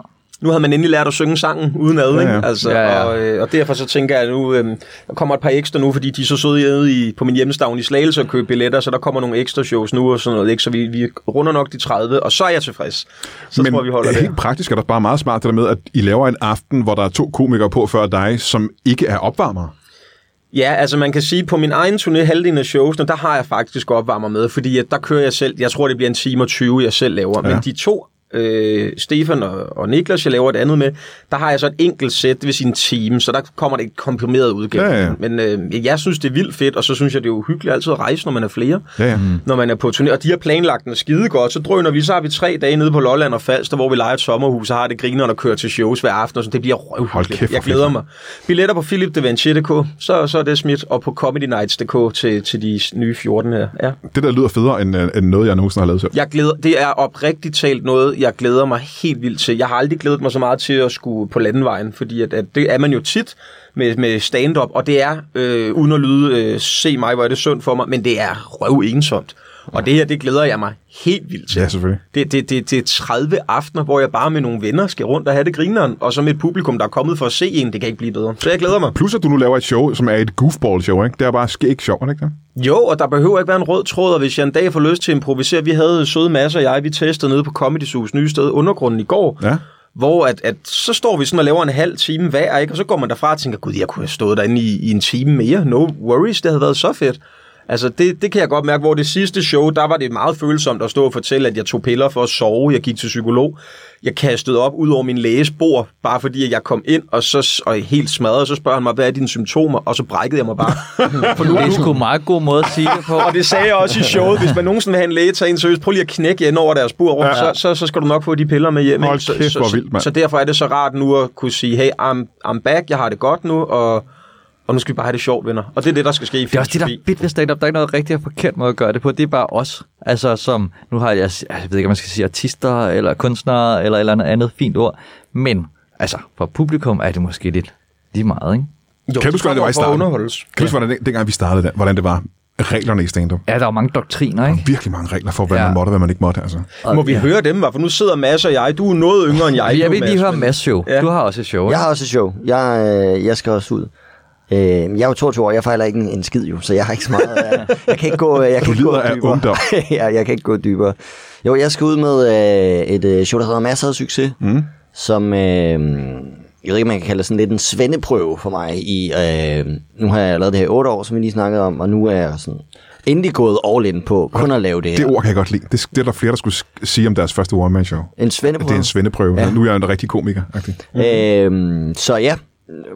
C: Nu havde man endelig lært at synge sangen uden ad,
A: Ja,
C: ikke?
A: ja.
C: Altså,
B: Ja, ja.
C: Og, øh, og derfor så tænker jeg nu, øh, der kommer et par ekstra nu, fordi de er så søde nede i, på min hjemstavn i Slagelse og købe billetter, så der kommer nogle ekstra shows nu og sådan noget, ikke? Så vi, vi runder nok de 30, og så er jeg tilfreds. Så
A: Men
C: tror jeg, vi holder
A: øh,
C: det.
A: helt praktisk er det bare meget smart det der med, at I laver en aften, hvor der er to komikere på før dig, som ikke er opvarmere.
C: Ja, altså man kan sige, på min egen turné, halvdelen af showsene, der har jeg faktisk opvarmer med, fordi at der kører jeg selv, jeg tror det bliver en time og 20, jeg selv laver, ja.
A: Ja.
C: men de to, øh, Stefan og, og Niklas, jeg laver et andet med, der har jeg så et enkelt sæt, det vil sige en time, så der kommer det et komprimeret udgave.
A: Ja, ja.
C: Men øh, jeg synes, det er vildt fedt, og så synes jeg, det er uhyggeligt altid at rejse, når man er flere,
A: Ja, ja. Mm.
C: når man er på turné, og de har planlagt den skide godt, så drøner vi, så har vi tre dage nede på Lolland og Falster, hvor vi leger et sommerhus, og har det griner og kører til shows hver aften, og så det bliver
A: Hold kæft,
C: røvhyggeligt.
A: hvor
C: Jeg glæder mig. Billetter på philipdevanchier.dk, så, så er det smidt, og på comedynights.dk til, til de nye 14 her. Ja.
A: Det der lyder federe, end, øh, end noget, jeg nogensinde har lavet selv.
C: Jeg glæder, det er oprigtigt talt noget, jeg glæder mig helt vildt til. Jeg har aldrig glædet mig så meget til at skulle på landevejen, fordi at, at det er man jo tit med, med stand-up, og det er, øh, uden at lyde, øh, se mig, hvor er det synd for mig, men det er røv ensomt. Og det her, det glæder jeg mig helt vildt til.
A: Ja, selvfølgelig.
C: Det, det, det, det er 30 aftener, hvor jeg bare med nogle venner skal rundt og have det grineren, og så med et publikum, der er kommet for at se en, det kan ikke blive bedre. Så jeg glæder mig.
A: Plus, at du nu laver et show, som er et goofball-show, ikke? Det er bare skæg sjovt, er det ikke det?
C: Jo, og der behøver ikke være en rød tråd, og hvis jeg en dag får lyst til at improvisere, vi havde søde masser og jeg, vi testede nede på Comedy Zoo's nye sted, Undergrunden, i går,
A: Ja.
C: hvor at, at, så står vi sådan og laver en halv time hver, ikke? og så går man derfra og tænker, gud, jeg kunne have stået derinde i, i en time mere, no worries, det havde været så fedt. Altså, det, det kan jeg godt mærke, hvor det sidste show, der var det meget følsomt at stå og fortælle, at jeg tog piller for at sove, jeg gik til psykolog, jeg kastede op ud over min læges bord, bare fordi at jeg kom ind og så og helt smadret, og så spørger han mig, hvad er dine symptomer, og så brækkede jeg mig bare.
B: For nu, det er sgu en meget god måde at sige det på.
C: Og det sagde jeg også i showet. Hvis man nogensinde vil have en læge tage en seriøst, prøv lige at knække ind over deres bur rundt, ja, ja. Så, så, så skal du nok få de piller med hjem. ikke?
A: Hold kæft,
C: så,
A: hvor
C: så,
A: vildt, mand.
C: så derfor er det så rart nu at kunne sige, hey, I'm, I'm back, jeg har det godt nu, og, og nu skal vi bare have det sjovt, venner. Og det er det, der skal ske i
B: Det er også det, der er
C: filosofi.
B: fedt ved stand-up. Der er ikke noget rigtig og forkert måde at gøre det på. Det er bare os. Altså som, nu har jeg, jeg ved ikke, om man skal sige artister, eller kunstnere, eller et eller andet, andet fint ord. Men, altså, for publikum er det måske lidt lige meget, ikke?
C: Jo,
A: Kan du
C: de
A: huske, hvordan det var i
C: kommer for at
A: starten?
C: underholdes.
A: Kan du huske, hvordan den, dengang vi startede, den, hvordan det var reglerne i stand-up?
B: Ja, der er jo mange doktriner, ikke?
A: Virkelig mange regler for, hvad ja.
B: Ja.
A: man måtte, og hvad man ikke måtte, altså.
C: Må vi høre dem, hva? for nu sidder Mads og jeg. Du er noget yngre end jeg.
B: Jeg, jeg
C: nu,
B: vil lige
C: Mads,
B: høre
C: men-
B: Mads show.
C: Ja.
B: Du har også et show,
D: Jeg
B: ikke?
D: har også et show. Jeg, øh, jeg skal også ud. Øh, jeg er jo 22 år, jeg fejler ikke en, en skid jo, så jeg har ikke så meget. Jeg, jeg kan ikke gå, øh, jeg kan
A: Du
D: ikke gå
A: lider af
D: dybere.
A: ungdom.
D: jeg, jeg kan ikke gå dybere. Jo, jeg skal ud med øh, et øh, show, der hedder Masser af Succes, mm. som... Øh, jeg ved ikke, man kan kalde det sådan lidt en svendeprøve for mig. I, øh, nu har jeg lavet det her i otte år, som vi lige snakkede om, og nu er jeg sådan endelig gået all in på kun at lave det her.
A: Det ord kan jeg godt lide. Det, det er der flere, der skulle s- sige om deres første one-man-show.
D: en
A: At
D: svendeprøve.
A: det er en svendeprøve. Ja. Nu er jeg en rigtig komiker. -agtig.
D: Øhm, så ja,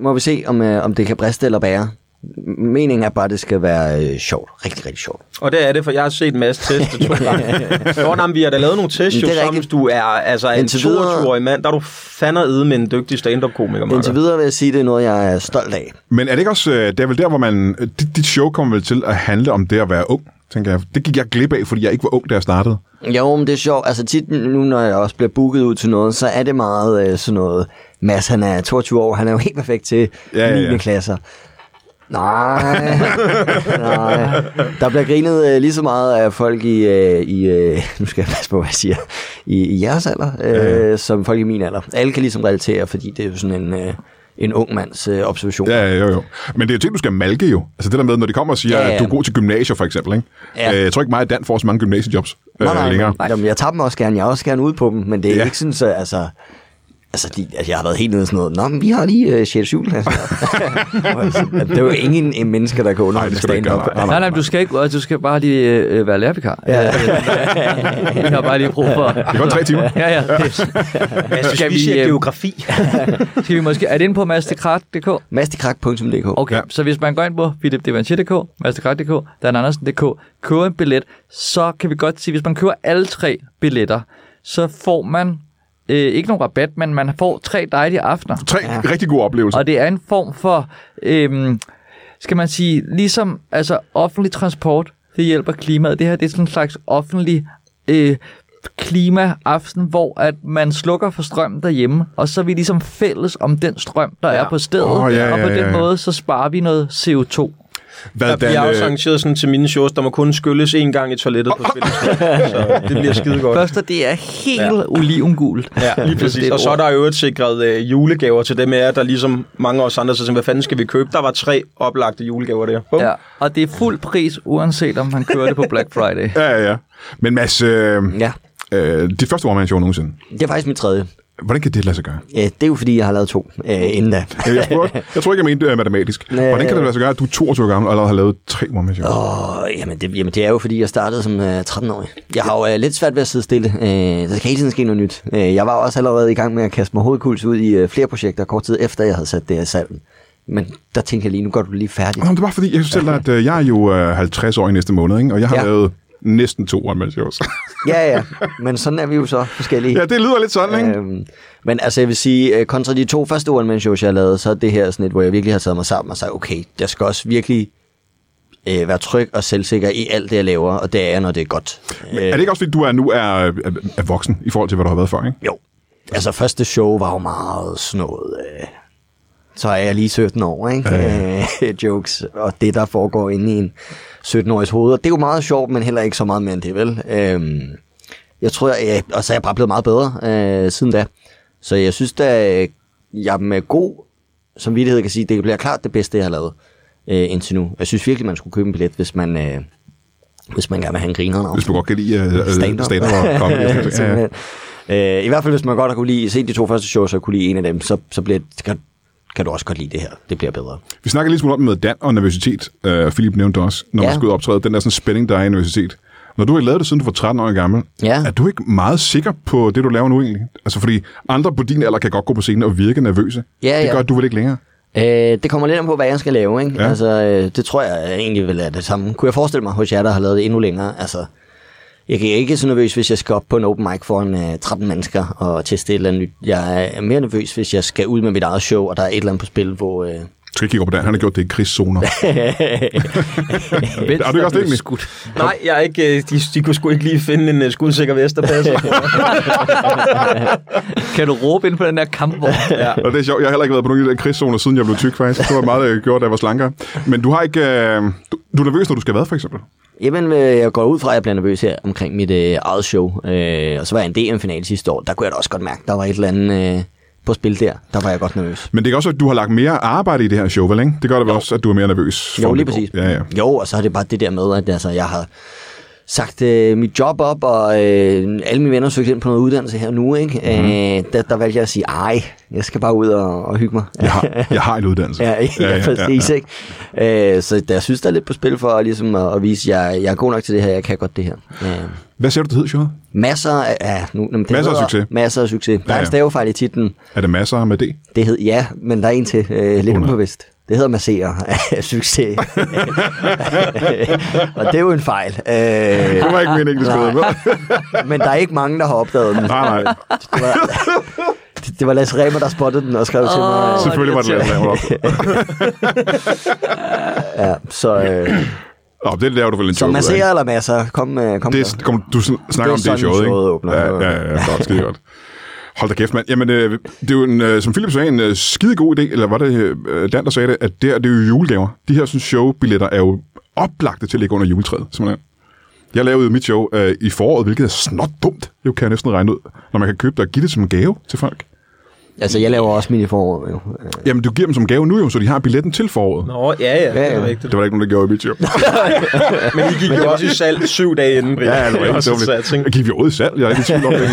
D: må vi se, om, øh, om det kan briste eller bære. M- Meningen er bare, at det skal være øh, sjovt. Rigtig, rigtig sjovt.
C: Og det er det, for jeg har set Mads teste to gange. Nå, nej, men vi har da lavet nogle tests,
D: Men
C: jo,
D: det er
C: sammen.
D: rigtigt.
C: Du er altså en
D: Indtil videre-
C: 22-årig mand. Der er du fandme med en dygtig stand-up-komiker, Marker.
D: Indtil videre vil jeg sige, at det er noget, jeg er stolt af.
A: Men er det ikke også, øh, det er vel der, hvor man, øh, dit, dit show kommer vel til at handle om det at være ung, tænker jeg. Det gik jeg glip af, fordi jeg ikke var ung, da jeg startede.
D: Jo, men det er sjovt. Altså tit nu, når jeg også bliver booket ud til noget, så er det meget øh, sådan noget. Mads, han er 22 år, han er jo helt perfekt til
A: Ja,
D: ja,
A: ja,
D: 9.
A: ja.
D: klasser. Nej, nej. Der bliver grinet øh, lige så meget af folk i, øh, i øh, nu skal jeg passe på, hvad jeg siger, i, i jeres alder, øh, som folk i min alder. Alle kan ligesom relatere, fordi det er jo sådan en, øh, en ung mands øh, observation.
A: Ja, jo, jo. Men det er jo ting, du skal malke jo. Altså det der med, når de kommer og siger,
D: Ja,
A: ja,
D: ja.
A: ja. at du er god til gymnasier for eksempel. Ikke?
D: Ja.
A: Ja. Øh, jeg tror ikke mig, at Dan får så mange gymnasiejobs øh,
D: Nej, nej,
A: længere.
D: længere. Nej, jamen, jeg tager dem også gerne. Jeg er også gerne ude på dem, men det er ja.
A: Ja.
D: ikke sådan, så, altså... Altså, de, altså, jeg har været helt nede i sådan noget. Nå, men vi har lige øh, 6. 7. klasse. Hvor jeg sådan, at det er jo ingen en mennesker, der kan underholde
A: det skal du ikke
D: stand-up.
A: gøre, nej.
B: Nej, nej, du skal ikke, du skal bare lige øh, være lærervikar. Ja. Jeg har bare lige brug for... Det
A: er kun tre timer.
B: Ja, ja. Det.
C: Mads,
B: Skal
C: skal vi
B: vi,
C: siger
B: øh,
C: geografi.
B: Skal vi måske... Er det inde på mastercard.dk?
D: Mastikrak.dk.
B: Okay, ja.
A: Ja.
B: så hvis man går ind på philipdevanchier.dk, mastercard.dk, Dan Andersen.dk, køber en billet, så kan vi godt sige, hvis man køber alle tre billetter, så får man øh, ikke nogen rabat, men man får tre dejlige aftener.
A: Tre ja. rigtig gode oplevelser.
B: Og det er en form for, øhm, skal man sige, ligesom altså offentlig transport, det hjælper klimaet. Det her det er sådan en slags offentlig øh, klimaaften, hvor at man slukker for strømmen derhjemme, og så er vi ligesom fælles om den strøm, der ja. er på stedet.
A: Åh, ja,
B: og på
A: ja,
B: den
A: ja, ja.
B: måde, så sparer vi noget CO2.
A: Hvad,
C: Der
A: Dan,
C: bliver også
A: øh,
C: arrangeret sådan til mine shows, der må kun skylles én gang i toilettet på spillestedet. Så det bliver skide godt.
B: Første, det er helt ja. olivengult.
C: Ja, lige præcis.
B: Det
C: Og så er
B: ord.
C: der i øvrigt sikret øh, julegaver til dem af jer, der ligesom mange af os andre, så tænker, hvad fanden skal vi købe? Der var tre oplagte julegaver der. Bum.
B: Ja, og det er fuld pris, uanset om man kører det på Black Friday.
A: Ja, ja, ja. Men Mads, øh,
D: Ja,
A: øh, dit første one-man-show nogensinde.
D: det er faktisk mit tredje.
A: Hvordan kan det lade sig gøre?
D: Øh, Det er jo fordi, jeg har lavet to øh, inden da.
A: Øh, Jeg, spurgte, jeg tror ikke, jeg mente det er matematisk.
D: Nej.
A: Hvordan kan det lade sig gøre, at du er 22 år gammel og allerede har lavet tre one-man-shows?
D: Og jamen det, jamen, det er jo fordi, jeg startede som øh, 13-årig. Jeg har jo øh, lidt svært ved at sidde stille, øh, så der kan hele tiden ske noget nyt. Øh, jeg var også allerede i gang med at kaste mig hovedkuls ud i øh, flere projekter kort tid efter, jeg havde sat det her i salven. Men der tænkte jeg lige, nu går du lige færdig.
A: Nå, men det var fordi, jeg synes selv, at øh, jeg er jo øh, 50 år i næste måned, ikke? og jeg har
D: Ja.
A: ja. lavet næsten to one-man-shows.
D: Ja, ja, men sådan er vi jo så forskellige.
A: ja, det lyder lidt sådan, ikke?
D: Øhm, men altså, jeg vil sige, øh, kontra de to første one shows jeg lavede, så er det her sådan et, hvor jeg virkelig har taget mig sammen og sagt, okay, jeg skal også virkelig øh, være tryg og selvsikker i alt det, jeg laver, og det er jeg, når det er godt. Øh,
A: Er det ikke også fordi, du er nu er, er, er voksen i forhold til, hvad du har været før, ikke?
D: Jo. Altså, første show var jo meget sådan noget... Øh, så er jeg lige 17 år, ikke? Ja, ja. Jokes og det, der foregår inde i en 17-årigs hoved. Og det er jo meget sjovt, men heller ikke så meget mere end det, vel? Øhm, jeg tror, jeg, og så er jeg bare blevet meget bedre øh, siden da. Så jeg synes da, øh, jeg med god samvittighed kan sige, det bliver klart det bedste, jeg har lavet øh, indtil nu. Jeg synes virkelig, man skulle købe en billet, hvis man, øh, hvis man gerne vil have en griner.
A: Hvis du godt kan lide øh, øh,
D: Stand-up.
A: stand-up og comedy. og sådan noget. Ja, ja.
D: Simpelthen. Øh, I hvert fald, hvis man godt har kunne lide, se de to første shows, og kunne lide en af dem, så, så bliver, kan, kan du også godt lide det her. Det bliver bedre.
A: Vi snakker lidt smule om det med Dan og nervøsitet. Uh, Philip nævnte også, når
D: Ja.
A: man skal ud og optræde, den der sådan spænding, der er i nervøsitet. Når du har lavet det, siden du var 13 år gammel,
D: Ja.
A: er du ikke meget sikker på det, du laver nu egentlig? Altså fordi andre på din alder kan godt gå på scenen og virke nervøse.
D: Ja,
A: det
D: ja.
A: gør du vel ikke længere?
D: Øh, det kommer lidt an på, hvad jeg skal lave. Ikke? Ja.
A: Ja.
D: Altså, øh, det tror jeg egentlig vil er det samme. Kunne jeg forestille mig hos jer, der har lavet det endnu længere? Altså, jeg er ikke så nervøs, hvis jeg skal op på en open mic foran øh, 13 mennesker og teste et eller andet nyt. Jeg er mere nervøs, hvis jeg skal ud med mit eget show, og der er et eller andet på spil, hvor... Øh,
A: Du skal ikke kigge op på Dan, han har gjort det i krigszoner.
B: Vent,
A: er det ikke også det egentlig?
C: Nej, jeg er ikke, øh, de, de kunne sgu ikke lige finde en uh, skudsikker vesterplads.
B: Kan du råbe ind på den der kampvogn? ja.
A: og det er sjovt, jeg har heller ikke været på nogen af de der krigszoner, siden jeg blev tyk faktisk. Det var meget, jeg gjorde, da jeg var slankere. Men du har ikke... Øh, du, du er nervøs, når du skal hvad, for eksempel?
D: Jamen, øh, jeg går ud fra, at jeg bliver nervøs her omkring mit øh, eget show. Øh, og så var jeg en DM-finale sidste år. Der kunne jeg da også godt mærke, der var et eller andet øh, på spil der. Der var jeg godt nervøs.
A: Men det kan også være, at du har lagt mere arbejde i det her show, vel, ikke? Det gør det vel også, at du er mere nervøs. for,
D: Jo,
A: om
D: lige
A: det går.
D: præcis.
A: Ja, ja.
D: Jo, og så er det bare det der med, at altså, jeg har sagt øh, mit job op, og øh, alle mine venner søgte ind på noget uddannelse her nu. Ikke? Mm. Øh, der, der valgte jeg at sige, ej, jeg skal bare ud og, og hygge mig.
A: Jeg har, jeg har en uddannelse.
D: Ja, ja, ja, præcis, ikke? Øh, så der, jeg synes, der er lidt på spil for ligesom at, at vise, at jeg, jeg er god nok til det her, jeg kan godt det her. Øh.
A: Hvad siger du, det hedder showet?
D: Masser af, ja, nu, jamen, det
A: Masser af
D: hedder
A: succes.
D: Masser af succes. Der er
A: Ja,
D: en
A: ja.
D: stavefejl i titlen.
A: Er det masser med det?
D: Det hed, ja, men der er en til. Øh, lidt
A: Under.
D: ubevidst. Det hedder masserer af succes. og det er jo en fejl. Øh,
A: Det var ikke meningen, det skulle hedde.
D: Nej.
A: vel?
D: men der er ikke mange, der har opdaget den.
A: Nej, nej.
D: Det var, det, det var Lasse Remer, der spottede den og skrev oh. til mig.
A: Selvfølgelig var det lavet. lavet op.
D: Ja, så, øh,
A: Nå, det laver du vel en
D: så
A: joke ud af, ikke?
D: masserer eller masser. Kom, øh, kom
A: Det
D: så.
A: er, kom, du sn- snakker
D: Det
A: det
D: er
A: om det i
D: sådan,
A: showet,
D: showet
A: ikke?
D: åbner.
A: Ja, ja, ja, ja, godt, skide godt. Hold da kæft, mand. Jamen, øh, det er jo en, øh, som Philip sagde, en øh, skide god idé, eller var det øh, Dan, der sagde det, at det, her, det er jo julegaver. De her sådan, showbilletter er jo oplagte til at ligge under juletræet, simpelthen. Jeg lavede jo mit show øh, i foråret, hvilket er snot dumt. Det kan jeg næsten regne ud, når man kan købe det og give det som en gave til folk.
D: Altså, jeg laver også mine forår, jo.
A: Jamen, du giver dem som gave nu jo, så de har billetten til foråret. Nå.
C: Nå, ja, ja, det
D: ja.
C: er rigtigt.
A: Det var der ikke nogen, der gjorde i mit job.
C: Men I gik jo også i salg syv dage inden, Brian.
A: Ja, det var ikke
C: Også, så jeg
A: dumt.
C: tænkte,
A: Jeg gik vi overhovedet i salg. Jeg er ikke i tvivl om det.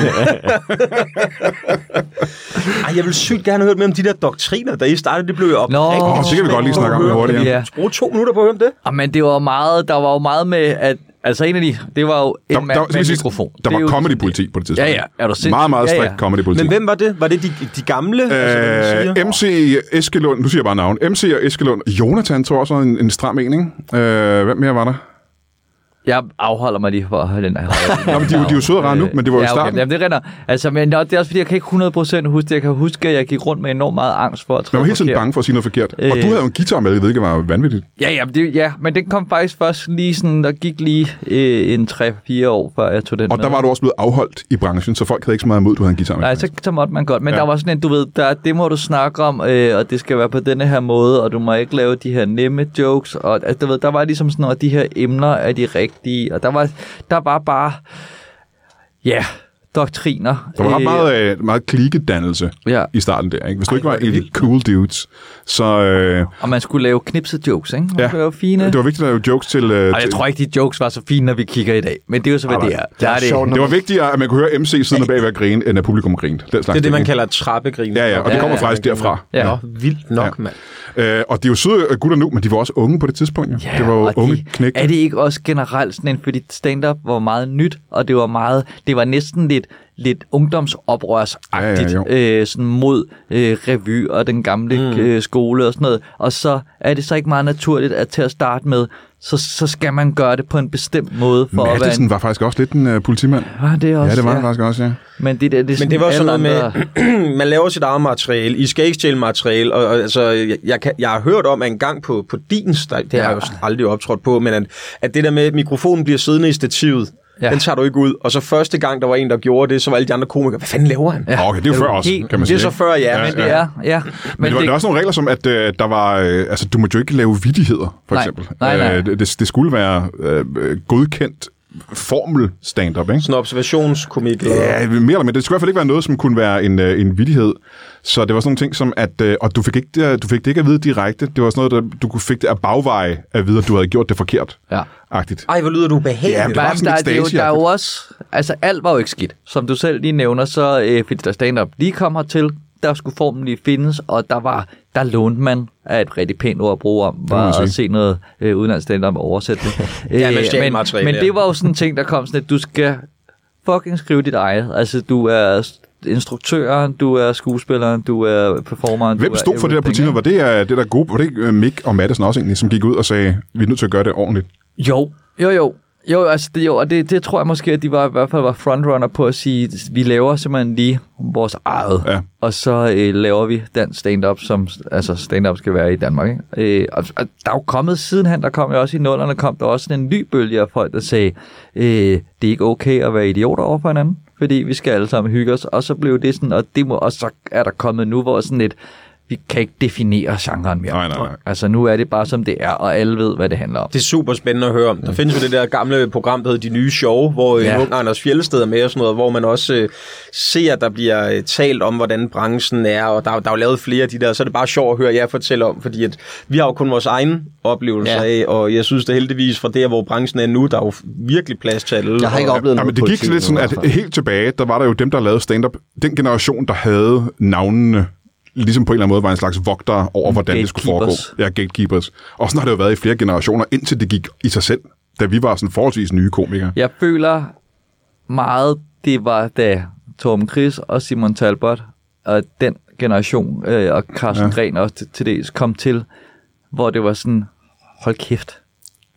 C: Ej, jeg vil sygt gerne høre mere om de der doktriner, da I startede. Det blev jeg op.
B: Nå.
A: Åh, det kan vi godt lige snakke om lidt hurtigt. Ja.
B: Ja. Ah,
C: Brug to minutter på at høre om det.
B: Men det var meget, der var jo meget med, at altså en af de, det var jo en
A: Der,
B: mand
A: der,
B: med
A: skal
B: en
A: sige,
B: mikrofon.
A: der
B: Det er
A: var
B: jo-
A: comedy-politi på det tidspunkt.
B: Ja, ja. Er du sindssyg?
A: Meget, meget
B: Ja, ja.
A: strikt comedy-politi.
C: Men hvem var det? Var det de, de gamle? Øh,
A: Øh, MC Eskelund, nu siger jeg bare navn. MC og Eskelund. Jonathan tror jeg også er en, en stram en, ikke? Øh, hvem mere var der?
B: Jeg afholder mig lige for at holde den her. Nå,
A: men de er jo- de er jo søde og rare nu, men det var jo i
B: ja, okay.
A: starten.
B: Jamen, det render. Altså, men det er også fordi, jeg kan ikke 100% huske det. Jeg kan huske, at jeg gik rundt med enormt meget angst for at
A: Man
B: træde
A: var hele tiden
B: forkert.
A: bange for at sige noget forkert. Øh. Og
B: Øh.
A: du havde jo en guitar med, hvilket var vanvittigt.
B: Ja, ja, men det, ja, men den kom faktisk først lige sådan, der gik lige øh, en 3-4 år, før jeg tog den
A: Og
B: med.
A: der var du også blevet afholdt i branchen, så folk havde ikke så meget imod, at du havde en guitar med.
B: Nej, så, så måtte man godt. Men
A: Ja.
B: ja. der var sådan en, du ved, der, det må du snakke om, øh, og det skal være på denne her måde, og du må ikke lave de her nemme jokes. Og altså, du ved, der var ligesom sådan noget, de her emner er de rigtige, og der var, der var bare, ja, doktriner.
A: Der var ret
B: Øh,
A: meget, øh, meget klikedannelse
B: Ja.
A: i starten der. Ikke? Hvis du ikke var
B: hvor er det
A: en af de cool dudes, så... Øh,
B: Og man skulle lave knipse jokes, ikke? Man
A: ja,
B: skulle lave fine.
A: det var vigtigt at lave jokes til... Øh,
B: og jeg
A: til-
B: tror ikke, de jokes var så fine, når vi kigger i dag. Men det er jo så, hvad
A: Nej,
B: det
A: nej.
B: er. Der er det.
D: sjovt,
A: det var vigtigt, at man kunne høre MC siden af bag ved at grine, end at publikum grinte. Den slags
C: Det er det,
A: ting,
C: man
A: ikke?
C: kalder et trappegrin.
A: Ja, ja, og det
B: Ja,
A: kommer
B: ja.
A: faktisk derfra.
B: Ja.
C: Nå, vildt nok,
A: Ja.
C: ja. mand.
A: Øh, og de er jo søde gutter nu, men de var også unge på det tidspunkt. Jo. det var jo
B: og
A: unge
B: det-
A: knæk.
B: Er det ikke også generelt sådan en, fordi stand-up var meget nyt, og det var meget, det var næsten lidt, lidt ungdomsoprørsagtigt
A: Ja,
B: ja, ja, øh, sådan mod øh, revy og den gamle mm. øh, skole og sådan noget. Og så er det så ikke meget naturligt, at til at starte med, så, så skal man gøre det på en bestemt måde for at være
A: Madsen
B: en...
A: var faktisk også lidt en uh, politimand.
B: Var det også,
A: ja, det var han faktisk også, ja.
B: Men det, der, det, er
C: Men det var jo sådan noget
B: alle
C: med,
B: andre-
C: man laver sit eget materiale, I skal ikke stjæle materiale, og, og altså, jeg, jeg, kan, jeg har hørt om, at en gang på, på din, der- det har jeg jo aldrig optrådt på, men at, at det der med, at mikrofonen bliver siddende i stativet, ja.
B: Ja.
C: den tager du ikke ud, og så første gang, der var en, der gjorde det, så var alle de andre komikere, hvad fanden laver han? Ja.
A: Okay, det er jo før også,
B: helt-
A: kan man
C: Det
A: sige.
C: er så
A: ikke?
C: før, ja,
A: Ja,
C: ja men
A: ja.
C: ja.
B: Ja, ja.
A: Men, det var der er også nogle regler som, at øh, der var, øh, altså, du måtte jo ikke lave vidigheder, for
B: Nej.
A: eksempel.
B: Nej, nej.
A: Øh, det, det- det skulle være øh, øh, godkendt formel-stand-up, ikke?
C: sådan en observationskomik. Ja.
A: Ja, mere eller mindre. Det skulle i hvert fald ikke være noget, som kunne være en, øh, en vidighed. Så det var sådan nogle ting som, at øh, og du, fik ikke, det- du fik det ikke at vide direkte. Det var sådan noget, der, du kunne- fik det af bagveje at vide, at du havde gjort det forkert.
B: Ja.
A: Agtigt.
C: Ej, hvor lyder du ubehagelig.
A: Ja, men det var
B: Jamen,
A: sådan
B: der,
A: lidt
B: det er jo, der er jo
A: Stasi-agtigt.
B: også, altså alt var jo ikke skidt. Som du selv lige nævner, så øh, fordi der stand-up lige kom hertil, der skulle formen lige findes, og der var, der lånte man af et rigtig pænt ord at bruge om,
A: må man
B: var
A: sige.
B: at se noget øh, udenlands stand-up og oversætte det.
C: Ja, man
B: Øh,
C: stjal
B: men,
C: materiale,
B: men
C: ja.
B: det var jo sådan en ting, der kom sådan, at du skal fucking skrive dit eget. Altså, du er s- instruktøren, du er skuespilleren, du er performeren.
A: Hvem
B: du
A: stod
B: er
A: for det der
B: everything,
A: politiet? Var det, øh, det der gode, var det ikke øh, Mick og Madison også egentlig, som gik ud og sagde, vi er nødt til at gøre det ordentligt?
B: Jo, jo, jo. Jo, altså det, jo, og det, det tror jeg måske, at de var, i hvert fald var frontrunner på at sige, vi laver simpelthen lige vores eget,
A: Ja.
B: og så øh, laver vi den stand-up, som altså stand-up skal være i Danmark. Ikke? Øh, og, og der er jo kommet sidenhen, der kom jo også i nullerne, kom der også sådan en ny bølge af folk, der sagde, øh, det er ikke okay at være idioter over for hinanden, fordi vi skal alle sammen hygge os, og så blev det sådan, og, det må, og så er der kommet nu, hvor sådan et, vi kan ikke definere genren mere.
A: Nej, nej, nej.
B: Altså nu er det bare som det er, og alle ved, hvad det handler om.
C: Det er super spændende at høre om. Der findes jo det der gamle program, der hedder De Nye Show, hvor ja.
B: Ja.
C: ung Anders Fjellsted er med og sådan noget, hvor man også øh, ser, at der bliver øh, talt om, hvordan branchen er, og der, er- der er jo lavet flere af de der, så er det bare sjovt at høre jer fortælle om, fordi at vi har jo kun vores egen oplevelse ja.
D: Ja.
C: af, og jeg synes det heldigvis fra der, hvor branchen er nu, der er jo virkelig plads til alle.
D: Jeg har ikke
C: og,
D: oplevet
A: Ja,
D: noget
A: men det gik
D: politi
A: lidt sådan,
D: nu, i
A: at
D: hvert fald.
A: helt tilbage, der var der jo dem, der lavede stand-up. Den generation, der havde navnene, ligesom på en eller anden måde var en slags vogter over, hvordan det skulle foregå.
B: Gatekeepers.
A: Ja, gatekeepers. Og sådan har det jo været i flere generationer, indtil det gik i sig selv, da vi var sådan forholdsvis nye komikere.
B: Jeg føler meget, det var da Torben Chris og Simon Talbot og den generation øh, og Carsten ja. Gren også til, til dels kom til, hvor det var sådan, hold kæft.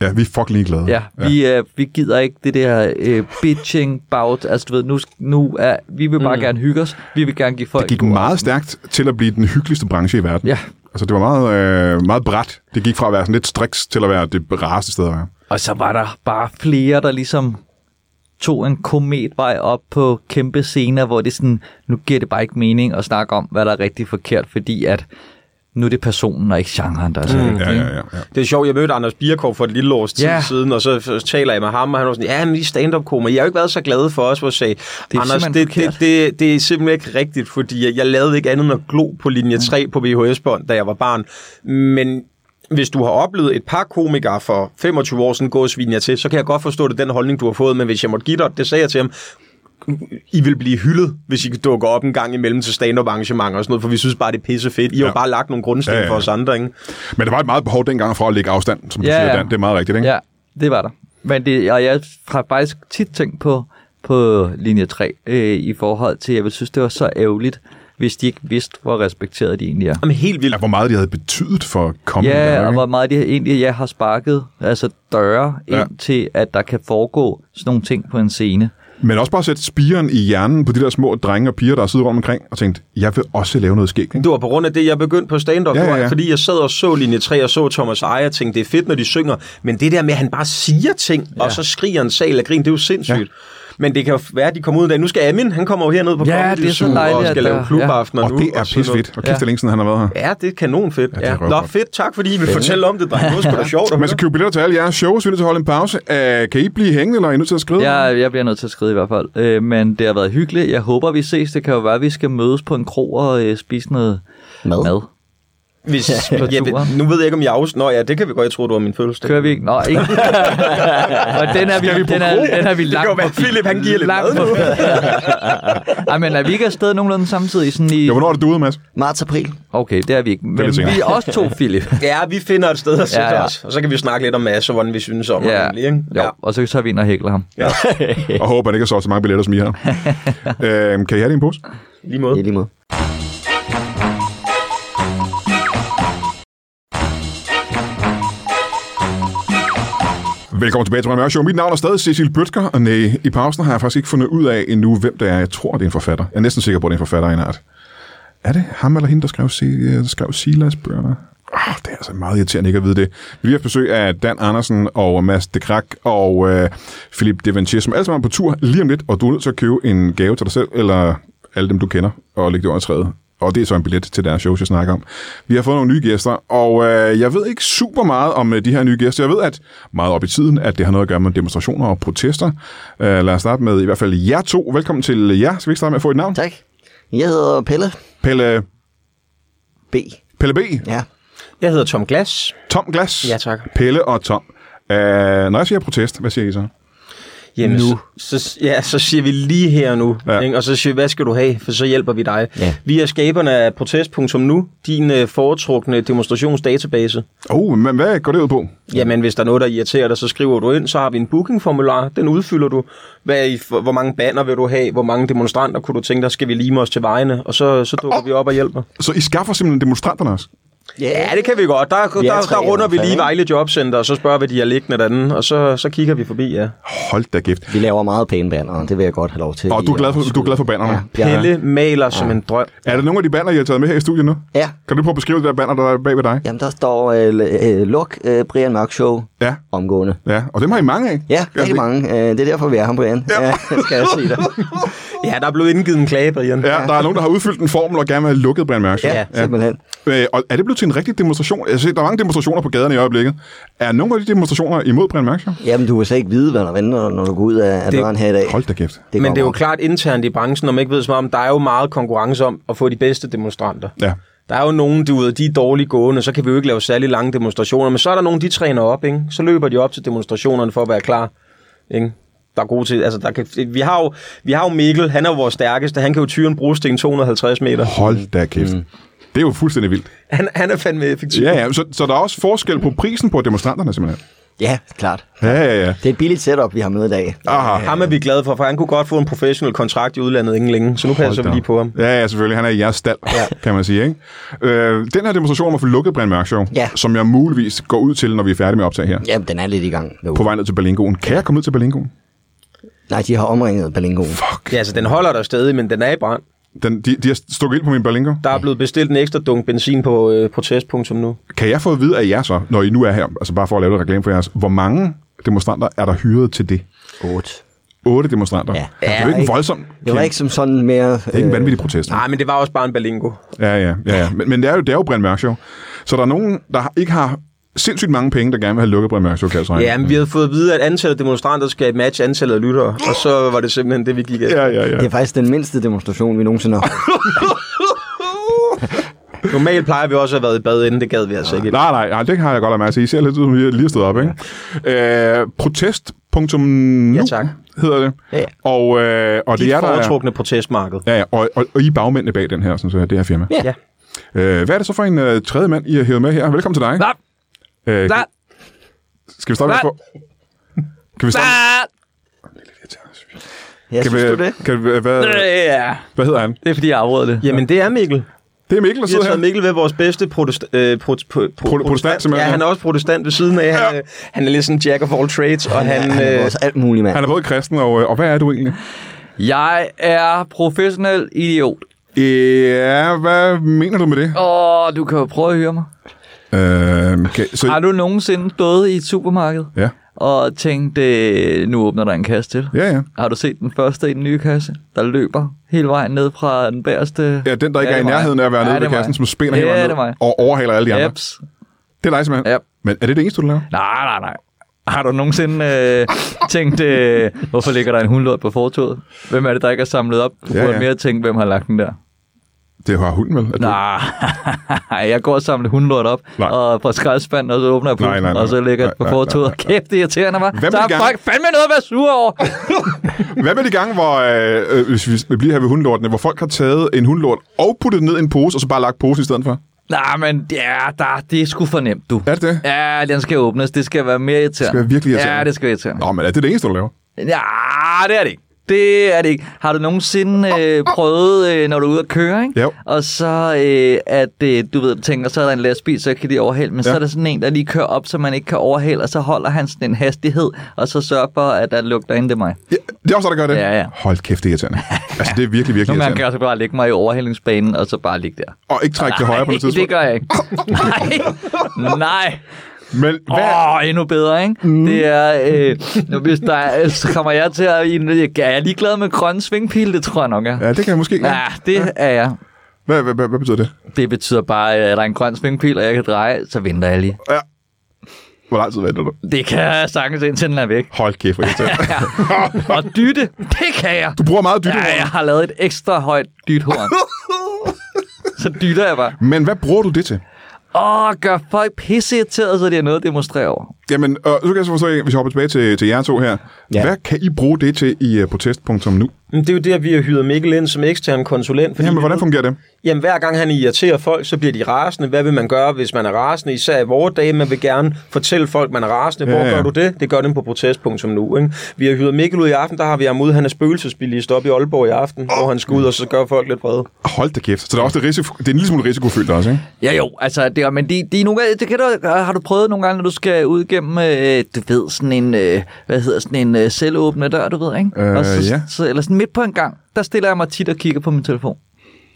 A: Ja, vi er fucking ligeglade.
B: Ja, vi, Øh, vi gider ikke det der øh, bitching bout. Altså du ved, nu, nu er, vi vil bare mm. gerne hygge os. Vi vil gerne give
A: Det
B: folk...
A: gik meget stærkt til at blive den hyggeligste branche i verden.
B: Ja.
A: Altså, det var meget, øh, meget bræt. Det gik fra at være sådan lidt striks til at være det rareste sted at være.
B: Og så var der bare flere, der ligesom tog en kometvej op på kæmpe scener, hvor det sådan, nu giver det bare ikke mening at snakke om, hvad der er rigtig forkert, fordi at nu er det personen og ikke genren, der er så vigtig.
A: Ja, ja, ja. ja.
C: Det er sjovt, jeg mødte Anders Bierkov for et lille års tid
B: Ja.
C: yeah. siden, og så, så taler jeg med ham, og han var sådan, ja, men I er stand-up-komer, I har jo ikke været så glade for os, hvor jeg sagde,
B: er
C: Anders,
B: simpelthen
C: det, det,
B: forkert."
C: det, det er simpelthen ikke rigtigt, fordi jeg, jeg lavede ikke andet end at glo på linje 3 på VHS-bånd, da jeg var barn, men hvis du har oplevet et par komikere for 25 år siden gå og svine jer til, så kan jeg godt forstå det, er den holdning, du har fået, men hvis jeg måtte give dig, det sagde jeg til ham, I vil blive hyldet, hvis I dukker op en gang imellem til stand-up arrangementer og sådan noget, for vi synes bare, det er pisse fedt. I har
A: Ja.
C: jo bare lagt nogle grundsten
A: Ja,
C: ja,
A: ja,
C: ja.
A: ja.
C: for os andre, ikke?
A: Men der var et meget behov dengang for at lægge afstand, som du
B: Ja,
A: siger,
B: ja.
A: Dan. Det er meget rigtigt, ikke?
B: Ja, det var der. Men det, og jeg har faktisk tit tænkt på, på linje 3 øh, i forhold til, jeg vil synes, det var så ærgerligt, hvis de ikke vidste, hvor respekteret de egentlig er.
C: Jamen helt vildt.
A: Ja, hvor meget de havde betydet for kommende
B: Ja, og
A: Mm. ikke?
B: hvor meget de egentlig jeg har sparket altså døre
A: Ja.
B: ja. ind til, at der kan foregå sådan nogle ting på en scene.
A: Men også bare sætte spiren i hjernen på de der små drenge og piger, der sidder rundt omkring, og tænkt, jeg vil også lave noget skæg. Ikke?
C: Det var på grund af det, jeg begyndte på stand-up.
A: Ja,
C: Ja,
A: ja,
C: ja,
A: ja.
C: Fordi jeg sad og så linje 3 og så Thomas Ejer og tænkte, det er fedt, når de synger. Men det der med, at han bare siger ting, ja. og så skriger en sal af grin, det er jo sindssygt. Ja. Men det kan jo være, at de kommer ud af Nu skal Amin, han kommer jo herned på
B: Ja,
C: Comedy
B: det er så
C: Zoo og
B: dejligt,
C: skal
B: at
C: lave
B: der-
C: klubaftener
A: Og
C: nu.
A: det er
C: sådan noget.
A: pisfedt. Og kæft, det er
B: Ja.
A: længe siden, han har været her.
C: Ja, det er kanonfedt.
A: det er
C: Ja, Nå,
A: røvgodt.
C: fedt. Tak, fordi I vil fortælle om det, dreng. Det var sgu da sjovt at
A: Man skal
C: høre.
A: købe billetter til alle jeres shows, vi er nødt til at holde en pause. Uh, kan I blive hængende, eller er I nødt til at
C: Uh.
A: skrive?
B: Jeg, jeg bliver nødt til at skride i hvert fald. Øh, men det har været hyggeligt. Jeg håber, vi ses. Det kan jo være, at vi skal mødes på en krog og øh, spise noget
D: Mad.
B: mad.
C: Hvis,
B: på
C: ja,
B: turen.
C: nu ved jeg ikke, om jeg afs... Nå ja, det kan vi godt. Jeg tror, du var min fødselsdag.
B: Kører vi ikke? Nå, ikke. og den er vi,
A: Skal vi på
B: den er,
A: krog?
B: den er vi
C: Det kan jo
B: langt
C: være, Philip, han giver lidt
B: Langt
C: mad nu.
B: på. Ej, men er vi ikke afsted nogenlunde samtidig? Sådan i...
A: Jo, hvornår er det du ude, Mads?
D: Marts-april.
B: Okay, det er vi ikke. Men
A: lidt senere.
B: vi er også to, Philip.
C: Ja, vi finder et sted at sætte ja,
B: ja.
C: ja. os. Og så kan vi snakke lidt om Mads og hvordan vi synes om
B: ja.
C: ham. egentlig, Ikke?
B: Jo, og så tager vi ind og hækler ham.
A: Og håber, han ikke har solgt så mange billetter, som I har. uh, kan I have det i en pose?
C: lige måde.
D: I lige måde.
A: Velkommen tilbage til Brian Mørk Show. Mit navn er stadig Cecil Bøtger, og nej, i pausen har jeg faktisk ikke fundet ud af endnu, hvem det er. Jeg tror, det er en forfatter. Jeg er næsten sikker på, at det er en forfatter af en art. Er det ham eller hende, der skrev, Se- der skrev Silas bøgerne? Oh, det er altså meget irriterende ikke at vide det. Vi har haft besøg af Dan Andersen og Mads de Krak og øh, Philip Devanchier, som alle sammen er på tur lige om lidt, og du er nødt til at købe en gave til dig selv, eller alle dem, du kender, og lægge det under træet. Og det er så en billet til deres shows, jeg snakker om. Vi har fået nogle nye gæster, og øh, jeg ved ikke super meget om øh, de her nye gæster. Jeg ved at meget op i tiden, at det har noget at gøre med demonstrationer og protester. Øh, lad os starte med i hvert fald jer to. Velkommen til jer. Skal vi ikke starte med at få et navn?
D: Tak. Jeg hedder Pelle
A: Pelle,
D: B.
A: Pelle B.
D: Ja.
C: Jeg hedder Tom Glass.
A: Tom Glas.
C: Ja, tak.
A: Pelle og Tom. Uh, når jeg siger protest, hvad siger I så?
C: Jamen, nu. Så, så, ja, så siger vi lige her og nu,
A: Ja.
C: ja. ikke? og så siger vi, hvad skal du have, for så hjælper vi dig.
D: Ja.
C: Vi er skaberne af protest.nu, din øh, foretrukne demonstrationsdatabase.
A: Oh, men hvad går det ud på?
C: Jamen, hvis der er noget, der irriterer dig, så skriver du ind, så har vi en bookingformular, den udfylder du. Hvad er I, for- hvor mange banner vil du have, hvor mange demonstranter kunne du tænke dig, skal vi lime os til vejene, og så, så dukker vi op og hjælper.
A: Så I skaffer simpelthen demonstranterne også?
C: Ja, det kan vi godt. Der, der,
D: er
C: der,
D: tre
C: der runder
D: i
C: vi
D: hvert fald,
C: lige
D: ikke?
C: Vejle Jobcenter, og så spørger vi, de er liggende derinde, og så, så kigger vi forbi, ja.
A: Hold da kæft.
D: Vi laver meget pæne banner, det vil jeg godt have lov til.
A: Og du er
D: lige
A: glad for,
D: at-
A: du er glad for bannerne?
D: Ja.
C: Pelle maler ja. som en drøm.
A: Er der nogle af de banner, I har taget med her i studiet nu?
D: Ja.
A: Kan du prøve at beskrive det der banner, der er bag ved dig?
D: Jamen, der står, øh, l- øh, luk øh, Brian Mørk Show
A: Ja.
D: omgående.
A: Ja, og dem har I mange af. Altså,
D: Ja, rigtig
A: det-
D: mange. Øh, det er derfor, vi er her, Brian. Ja, ja skal jeg sige dig.
C: Ja, der er blevet indgivet en klage, Brian.
A: Ja, der er nogen, der har udfyldt en formel og gerne vil have lukket Brian Mørk.
D: Ja, simpelthen.
A: Øh, og er det blevet til en rigtig demonstration? Jeg ser, der er mange demonstrationer på gaderne i øjeblikket. Er nogle af de demonstrationer imod Brian Mørk?
D: Jamen, du vil slet ikke vide, hvad der venter, når du går ud af, af
C: Det-
D: døren her i dag.
A: Hold da kæft.
D: Det
C: Men det er jo
D: klart.
C: klart internt i branchen, når man ikke ved så meget om, der er jo meget konkurrence om at få de bedste demonstranter.
A: Ja.
C: Der er jo nogen, du ved, de er dårligt gående, så kan vi jo ikke lave særlig lange demonstrationer, men så er der nogen, de træner op, ikke? Så løber de op til demonstrationerne for at være klar, ikke? Der er gode til, altså der kan, vi, har jo, vi har jo Mikkel, han er jo vores stærkeste, han kan jo tyre en brosten 250 meter.
A: Hold da kæft. Mm. Det er jo fuldstændig vildt.
C: Han, han er fandme effektiv.
A: Ja, ja. Så, så der er også forskel på prisen på demonstranterne, simpelthen.
D: Ja, klart.
A: Ja, ja, ja.
D: Det er et billigt setup, vi har med i dag.
A: Aha.
C: Ham er vi glade for, for han kunne godt få en professionel kontrakt i udlandet ingen længe, så nu passer vi lige på ham.
A: Ja, ja, selvfølgelig. Han er i jeres stald, ja. kan man sige. Ikke? Øh, den her demonstration var for lukket Brian Mørk Show,
D: Ja.
A: som jeg muligvis går ud til, når vi er færdige med optag her.
D: Jamen, den er lidt i gang. Jo.
A: På vej ned til Berlingoen. Kan jeg komme ned til Berlingoen?
D: Nej, de har omringet Berlingoen.
C: Ja, altså den holder der stadig, men den er i brand.
A: Den, de, de har stukket ind på min Berlingo.
C: Der er blevet bestilt en ekstra dunk benzin på øh, protest.nu. nu.
A: Kan jeg få at vide af jer så, når I nu er her, altså bare for at lave lidt reklame for jeres, hvor mange demonstranter er der hyret til det?
D: 8.
A: otte demonstranter.
D: Ja.
A: Ja. Det er jo ikke en voldsom...
D: Det var ikke som sådan mere... øh,
A: det er ikke en vanvittig protest.
C: Nej, men det var også bare en balingo.
A: Ja, ja, ja. ja. Men, men det er jo, det er jo Brian Mørk Show. Så der er nogen, der har- ikke har sindssygt mange penge, der gerne vil have lukket Brian Mørk Show, kan jeg så regne.
C: Ja, men vi havde fået at vide, at antallet af demonstranter skal matche antallet af lyttere, og så var det simpelthen det, vi gik af.
A: ja, ja, ja.
D: Det er faktisk den mindste demonstration, vi nogensinde har holdt.
C: Normalt plejer vi også at have været i bad inden, det gad vi altså ikke.
A: Nej, nej, nej, det har jeg godt af mærke til. I ser lidt ud, som I lige har stået op, ikke? Ja. Øh, protest.nu
C: Ja, tak.
A: hedder det.
D: Ja.
A: Og, øh, og det
C: Dit
A: er der... er-
C: foretrukne protestmarked.
A: Ja, ja, og, og, og I er bagmændene bag den her, sådan så, det her firma.
C: Ja.
A: Øh, hvad er det så for en øh, tredje mand, I har hævet med her? Velkommen til dig.
B: Nej.
A: Øh,
B: Nej.
A: Skal vi starte med at få... Kan vi starte?
B: Ah,
D: Jeg
A: Kan
D: synes du det?
A: vi, kan vi, hvad,
B: øh, Ja,
A: hvad hedder han?
B: det er fordi, jeg afbrød det.
C: Jamen, det er Mikkel.
A: Det er Mikkel, der
C: Vi har
A: sidder her.
C: taget Mikkel ved vores bedste protest, øh, pro, pro, pro,
A: protestant,
C: Ja,
A: simpelthen, ja.
C: han er også protestant ved siden af. Han, øh, han er lidt sådan jack of all trades, og han...
D: Han er
C: Øh,
D: vores alt muligt, mand.
A: Han er både kristen, og, øh, og hvad er du egentlig?
B: Jeg er professionel idiot.
A: Ja, hvad mener du med det?
B: Åh, du kan jo prøve at høre mig.
A: Øh, okay, så,
B: Har du nogensinde stået i et supermarked
A: Ja,
B: og tænkt, øh, nu åbner der en kasse til?
A: ja, ja.
B: Har du set den første i den nye kasse, der løber hele vejen ned fra den bagerste?
A: Ja, den, der ikke
B: Ja,
A: ja, er i
B: det er mig.
A: nærheden af at være
B: Ja,
A: nede
B: det
A: ved
B: er mig.
A: kassen, som spænder
B: Ja,
A: hele vejen
B: det er
A: ned
B: mig.
A: og overhaler alle de andre.
B: Eps.
A: Det er dig simpelthen.
B: Yep.
A: Men er det det eneste, du laver?
B: Nej, nej, nej. Har du nogensinde øh, tænkt, øh, hvorfor ligger der en hundlort på fortoget? Hvem er det, der ikke er samlet op? Du
A: Ja,
B: ja, burde
A: ja.
B: mere tænke, hvem har lagt den der.
A: Det har hunden vel? Altså, at du-
B: Nej, jeg går og samler hundlort op
A: Nej.
B: nej. og fra skraldespanden, og så åbner jeg
A: Nej,
B: posen,
A: nej, nej.
B: og så lægger jeg
A: Nej,
B: på
A: nej, nej,
B: fortoget. Kæft, det er irriterende, var.
A: vil
B: Der er
A: gerne-
B: folk fandme noget at være sur over.
A: Hvad med de gange, hvor, øh, øh, hvis vi- vi bliver her ved hundlortene, hvor folk har taget en hundlort og puttet den ned i en pose, og så bare lagt posen i stedet for?
B: nej, men ja, der, det er sgu for nemt, du.
A: Er det det?
B: Ja, den skal åbnes. Det skal være mere irriterende.
A: Det skal være virkelig irriterende.
B: Ja, det skal være irriterende.
A: Nå, men er det det eneste, du laver?
B: Ja, det er det ikke. Det er det ikke. Har du nogensinde øh, prøvet, øh, når du er ude at køre, ikke?
A: Jo.
B: og så øh, at øh, du ved, tænker, så er der en lastbil, så kan de overhale, men ja.
A: Ja.
B: så er der sådan en, der lige kører op, så man ikke kan overhale, og så holder han sådan en hastighed, og så sørger for, at der lugter ind til mig.
A: Ja, det er også dig, der gør det?
B: Ja, ja.
A: Hold kæft, det er irriterende. Altså, det er virkelig, virkelig
B: Nogle gange kan
A: irriterende.
B: jeg så bare ligge mig i overhalingsbanen, og så bare ligge der.
A: Og ikke trække til højre på
B: Nej,
A: noget tidspunkt.
B: det gør jeg ikke. Nej, nej.
A: Men hvad,
B: Åh, oh, endnu bedre, ikke? Mm. Det er, øh, nu, hvis der er, så kommer jeg til at... Jeg er ligeglad med grønne svingpil, det tror jeg nok, jeg er.
A: ja, det kan jeg måske ikke.
B: Ja, det er jeg.
A: Hvad, hvad, hvad, hvad betyder det?
B: Det betyder bare, at er der en grøn svingpil, og jeg kan dreje, så venter jeg lige.
A: Ja. Hvor lang tid venter du?
B: Det kan jeg sagtens indtil den er væk.
A: Hold kæft, hvor irriterende.
B: Og dytte, det kan jeg.
A: Du bruger meget dybt.
B: Ja, jeg har lavet et ekstra højt dythorn. Så dytter jeg bare.
A: Men hvad bruger du det til?
B: Åh, gør folk pisseirriterede, så de har noget at demonstrere over.
A: Jamen, øh, så kan jeg så forstå, hvis jeg hopper tilbage til, til jer to her. Ja.
D: Ja.
A: Hvad kan I bruge det til i uh, protest.nu?
C: men det er jo der, vi har hyret Mikkel ind som ekstern konsulent. Fordi
A: Jamen, hvordan fungerer det?
C: Jamen, hver gang han irriterer folk, så bliver de rasende. Hvad vil man gøre, hvis man er rasende? Især i vores dage, man vil gerne fortælle folk, man er rasende. Hvor
A: Ja,
C: ja,
A: ja.
C: ja. gør du det? Det gør dem på protest.nu. Ikke? Vi har hyret Mikkel ud i aften, der har vi ham ud. Han er spøgelsesbilligst op i Aalborg i aften, oh. hvor han skal ud, og så gør folk lidt vrede.
A: Hold da kæft. Så der er også det, risiko, det er en lille smule risikofyldt også, ikke?
B: Ja jo, altså, det, er- men de, de er nogle gange, det kan du, har du prøvet nogle gange, når du skal ud gennem, øh, du ved, sådan en, øh, hvad hedder sådan en øh, selvåbne dør, du ved, ikke?
A: Øh,
B: og så,
A: ja.
B: så, eller sådan midt på en gang, der stiller jeg mig tit og kigger på min telefon.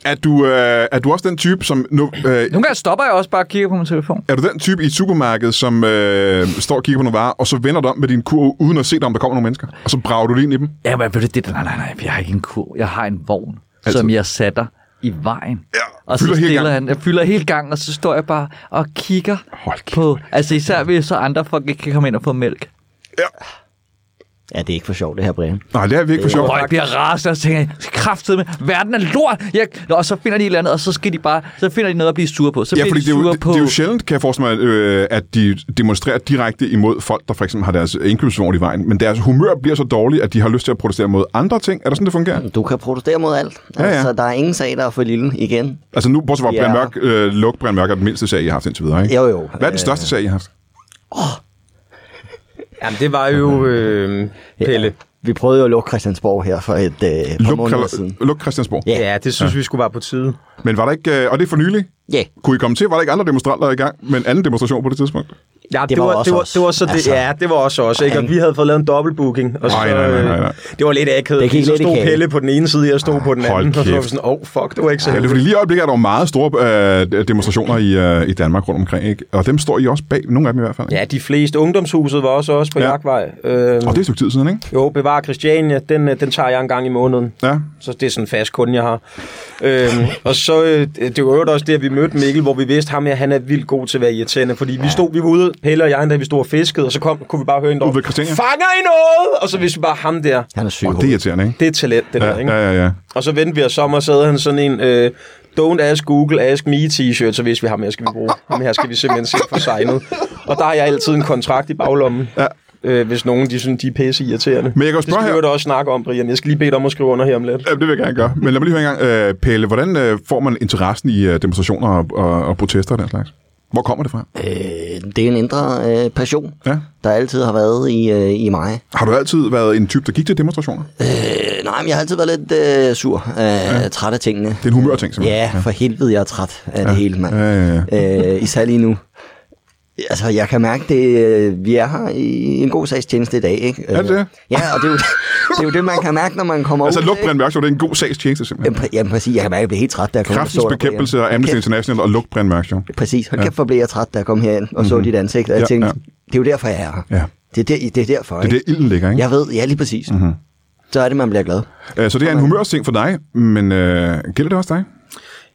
A: Er du, øh, er du også den type, som... Nu, øh,
B: Nogle gange stopper jeg også bare og kigger på min telefon.
A: er du den type i et supermarked, som øh, står og kigger på nogle varer, og så vender du om med din kurv, uden at se dig, om der kommer nogle mennesker? Og så brager du lige ind i dem?
B: Ja, men ved du det? Nej, nej, nej, jeg har ikke en kur. Jeg har en vogn, altså. som jeg sætter i vejen.
A: Ja,
B: og så
A: fylder hele
B: stiller
A: gangen.
B: han, jeg fylder helt gang, og så står jeg bare og kigger
A: Hold kæft, hvor
B: på, altså især hvis så andre folk ikke kan komme ind og få mælk.
D: Ja, det er ikke for sjovt, det her, Brian.
A: Nej, det er vi ikke for sjovt.
B: Og jeg bliver rasende, og så tænker jeg, kraftedeme, verden er lort. Jeg... Nå, og så finder de et eller andet, og så skal de bare, så finder de noget at blive sure på. Så
A: Ja,
B: bliver
A: fordi
B: de
A: det er,
B: sure
A: jo, det,
B: på...
A: det er jo sjældent, kan jeg forestille mig, at, øh, at de demonstrerer direkte imod folk, der for eksempel har deres indkøbsvogn i vejen. Men deres humør bliver så dårligt, at de har lyst til at protestere mod andre ting. Er det sådan, det fungerer?
D: Du kan protestere mod alt.
A: Ja, ja.
D: Altså, der er ingen sag, der er for lille igen.
A: Altså nu, bortset fra
D: Ja.
A: Brian Mørk, øh, Luk Brian Mørk er den mindste sag, I har haft indtil videre, ikke?
D: Jo, jo.
A: Hvad er den største sag, I har haft?
C: Jamen, det var jo øh, Pelle.
D: Vi prøvede jo at lukke Christiansborg her for et øh, par
A: Luk,
D: måneder siden.
A: Luk Christiansborg.
D: Ja.
C: Ja, ja det synes ja. vi skulle være på tide.
A: Men var der ikke, øh, og det er for nylig,
D: Ja,
A: kunne I komme til, var der ikke andre demonstranter i gang med en anden demonstration på det tidspunkt?
C: Ja, det,
D: Det
C: det,
D: var
C: var,
D: også
C: det, var,
D: os.
C: det var så det.
D: Altså.
C: Altså. Ja, det var også os, ikke? Og vi havde fået lavet en dobbeltbooking. Og så, øh,
A: Nej, nej, nej, nej, nej.
C: Det var lidt akavet.
D: Det
C: fordi
D: gik
C: så
D: lidt i
C: stod
D: kage.
C: Pelle på den ene side, og jeg stod på den
A: Hold
C: anden. Og så var
A: kæft.
C: vi sådan, åh, oh, fuck, det var ikke så
A: Ja, det er
C: heldigt.
A: fordi lige i øjeblikket er der jo meget store øh, demonstrationer i, øh, i Danmark rundt omkring, ikke? Og dem står I også bag, nogle af dem i hvert fald. ikke?
C: Ja, de fleste. Ungdomshuset var også også på
A: Ja.
C: ja. jagtvej. Øhm,
A: Og det er et stykke tid siden, ikke?
C: Jo, bevar Christiania, den, øh, den tager jeg en gang i måneden.
A: Ja.
C: Så det er sådan en fast kunde, jeg har. Øhm, og så, øh, det var jo også det, at vi mødte Mikkel, hvor vi vidste ham, at han er vildt god til at være irriterende. Fordi vi stod, vi var ude, Pelle og jeg, da vi stod og fiskede, og så kom, kunne vi bare høre en
A: Ude ved
C: dog,
A: Christiania?
C: fanger I noget? Og så vidste vi bare ham der.
D: Han er syg.
A: Og det er irriterende, ikke?
C: Det er talent, det der,
A: Ja,
C: ikke?
A: ja, ja, ja.
C: Og så vendte vi os om, og så havde han sådan en... Øh, Don't ask Google, ask me t-shirt, så vidste vi, ham her skal vi bruge. Ham her skal vi simpelthen se for signet. Og der har jeg altid en kontrakt i baglommen. Ja. Øh, hvis nogen, de synes, de er pisse irriterende.
A: Men jeg kan jo spørge
C: det
A: her-
C: skal vi jo også snakke om, Brian. Jeg skal lige bede dig om at skrive under her om lidt.
A: Jamen, det vil jeg gerne gøre. Men lad mig lige høre en gang. Øh, Pelle, hvordan øh, får man interessen i øh, demonstrationer og, og, og protester og den slags? Hvor kommer det fra?
D: Øh, det er en indre øh, passion,
A: Ja.
D: der altid har været i, øh, i mig.
A: Har du altid været en type, der gik til demonstrationer?
D: Øh, nej, men jeg har altid været lidt øh, sur. Øh, ja. Træt af tingene.
A: Det er en humørting, simpelthen.
D: Ja, for helvede, jeg er træt af ja. det hele, mand.
A: Ja, ja,
D: Øh, især lige nu. Altså, jeg kan mærke, det, øh, vi er her i en god sagstjeneste i dag, ikke? Altså,
A: Er det det?
D: Ja, og det er, jo, det er jo det, man kan mærke, når man kommer
A: Altså,
D: ud.
A: luk
D: ikke?
A: Brian Mørk Show, det er en god sagstjeneste, simpelthen.
D: Jamen, præ- Jamen, præcis. Jeg kan mærke, at jeg bliver helt træt, da jeg kommer ud og
A: Kraftens
D: står der, Brian.
A: bekæmpelse og
D: Hold
A: Amnesty
D: kæft,
A: International og luk Brian Mørk Show.
D: Præcis. Hold kæft, hvor blev jeg træt, da jeg kom herind og så dit ansigt. Og jeg
A: Mhm. Ja,
D: tænkte,
A: ja.
D: det er jo derfor, jeg er her.
A: Ja.
D: Det er, der, det er derfor,
A: Det er
D: ikke?
A: der, ilden ligger, ikke? Mhm.
D: Jeg ved, ja, lige præcis. Mm-hmm. Så er det, man bliver glad.
A: Øh, Så det er en humørsting for dig, men øh, gælder det også dig?